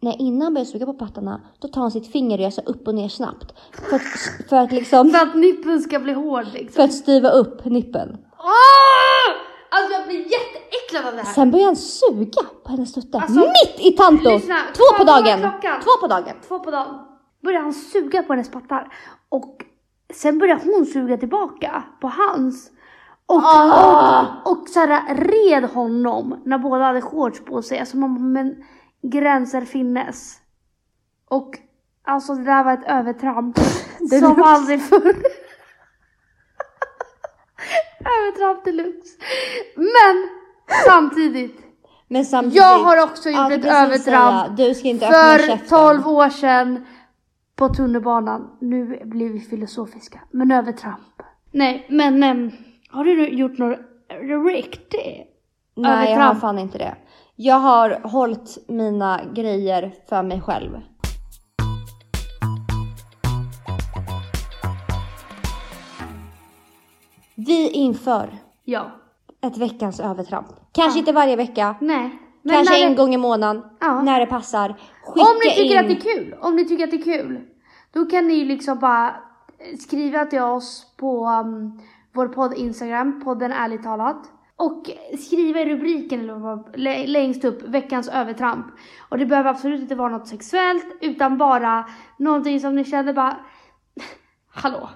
B: Nej, innan han börjar suga på pattarna, då tar han sitt finger och gör så upp och ner snabbt. För att, för att liksom,
A: För att nippeln ska bli hård liksom.
B: för att styva upp nippen.
A: Ah! Alltså jag blir jätteäcklad av det här.
B: Sen börjar han suga på hennes tutte.
A: Alltså,
B: Mitt i tanto!
A: lyssna,
B: Två på
A: kolla
B: dagen!
A: klockan.
B: Två på dagen!
A: två på dagen. Började han suga på hennes pattar och sen började hon suga tillbaka på hans. Och, Ah! och, och så här, red honom när båda hade shorts på sig. Alltså man bara, men gränser finnes. Och alltså det där var ett övertramp som aldrig förr. övertramp deluxe. Men samtidigt,
B: Men samtidigt,
A: jag har också gjort
B: allt
A: ett
B: jag ska
A: övertramp
B: säga, Du ska inte öppna
A: för
B: käften.
A: 12 år sedan på tunnelbanan. Nu blir vi filosofiska, men över tramp. Nej, men ehm, har du nu gjort något riktigt?
B: Nej, jag har
A: övertramp.
B: fan inte det. Jag har hållit mina grejer för mig själv. Vi inför
A: Ja.
B: ett veckans övertramp. Kanske
A: Ah.
B: inte varje vecka,
A: Nej. Men
B: kanske
A: när
B: en
A: det-
B: gång i månaden,
A: Ja.
B: när det passar. Skicka
A: Om ni tycker
B: in.
A: att det är kul, om ni tycker att det är kul, då kan ni ju liksom bara skriva till oss på um, vår podd Instagram, podden ärligt talat. Och skriva i rubriken eller vad- lä- längst upp, veckans övertramp. Och det behöver absolut inte vara något sexuellt, utan bara någonting som ni känner bara, hallå.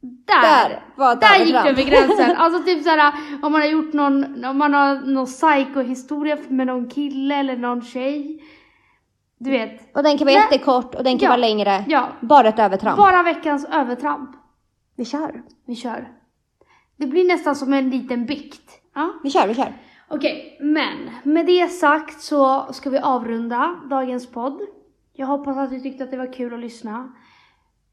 A: Där!
B: Där var ett
A: Där gick
B: övertramp.
A: du över gränsen! Alltså typ såhär om man har gjort någon, om man har någon psykohistoria med någon kille eller någon tjej. Du vet,
B: Och den kan vara
A: Nej.
B: jättekort och den kan
A: Ja.
B: vara längre.
A: Ja.
B: Bara ett övertramp.
A: bara veckans övertramp.
B: Vi kör.
A: Vi kör. Det blir nästan som en liten bikt. Ja.
B: Vi kör, vi kör.
A: Okej, men med det sagt så ska vi avrunda dagens podd. Jag hoppas att ni tyckte att det var kul att lyssna.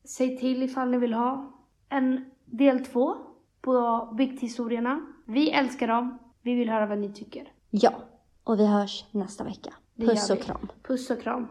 A: Säg till ifall ni vill ha en del två på bikthistorierna. Vi älskar dem. Vi vill höra vad ni tycker.
B: Ja, och vi hörs nästa vecka.
A: Det
B: Puss
A: gör
B: och
A: vi.
B: kram.
A: Puss och kram.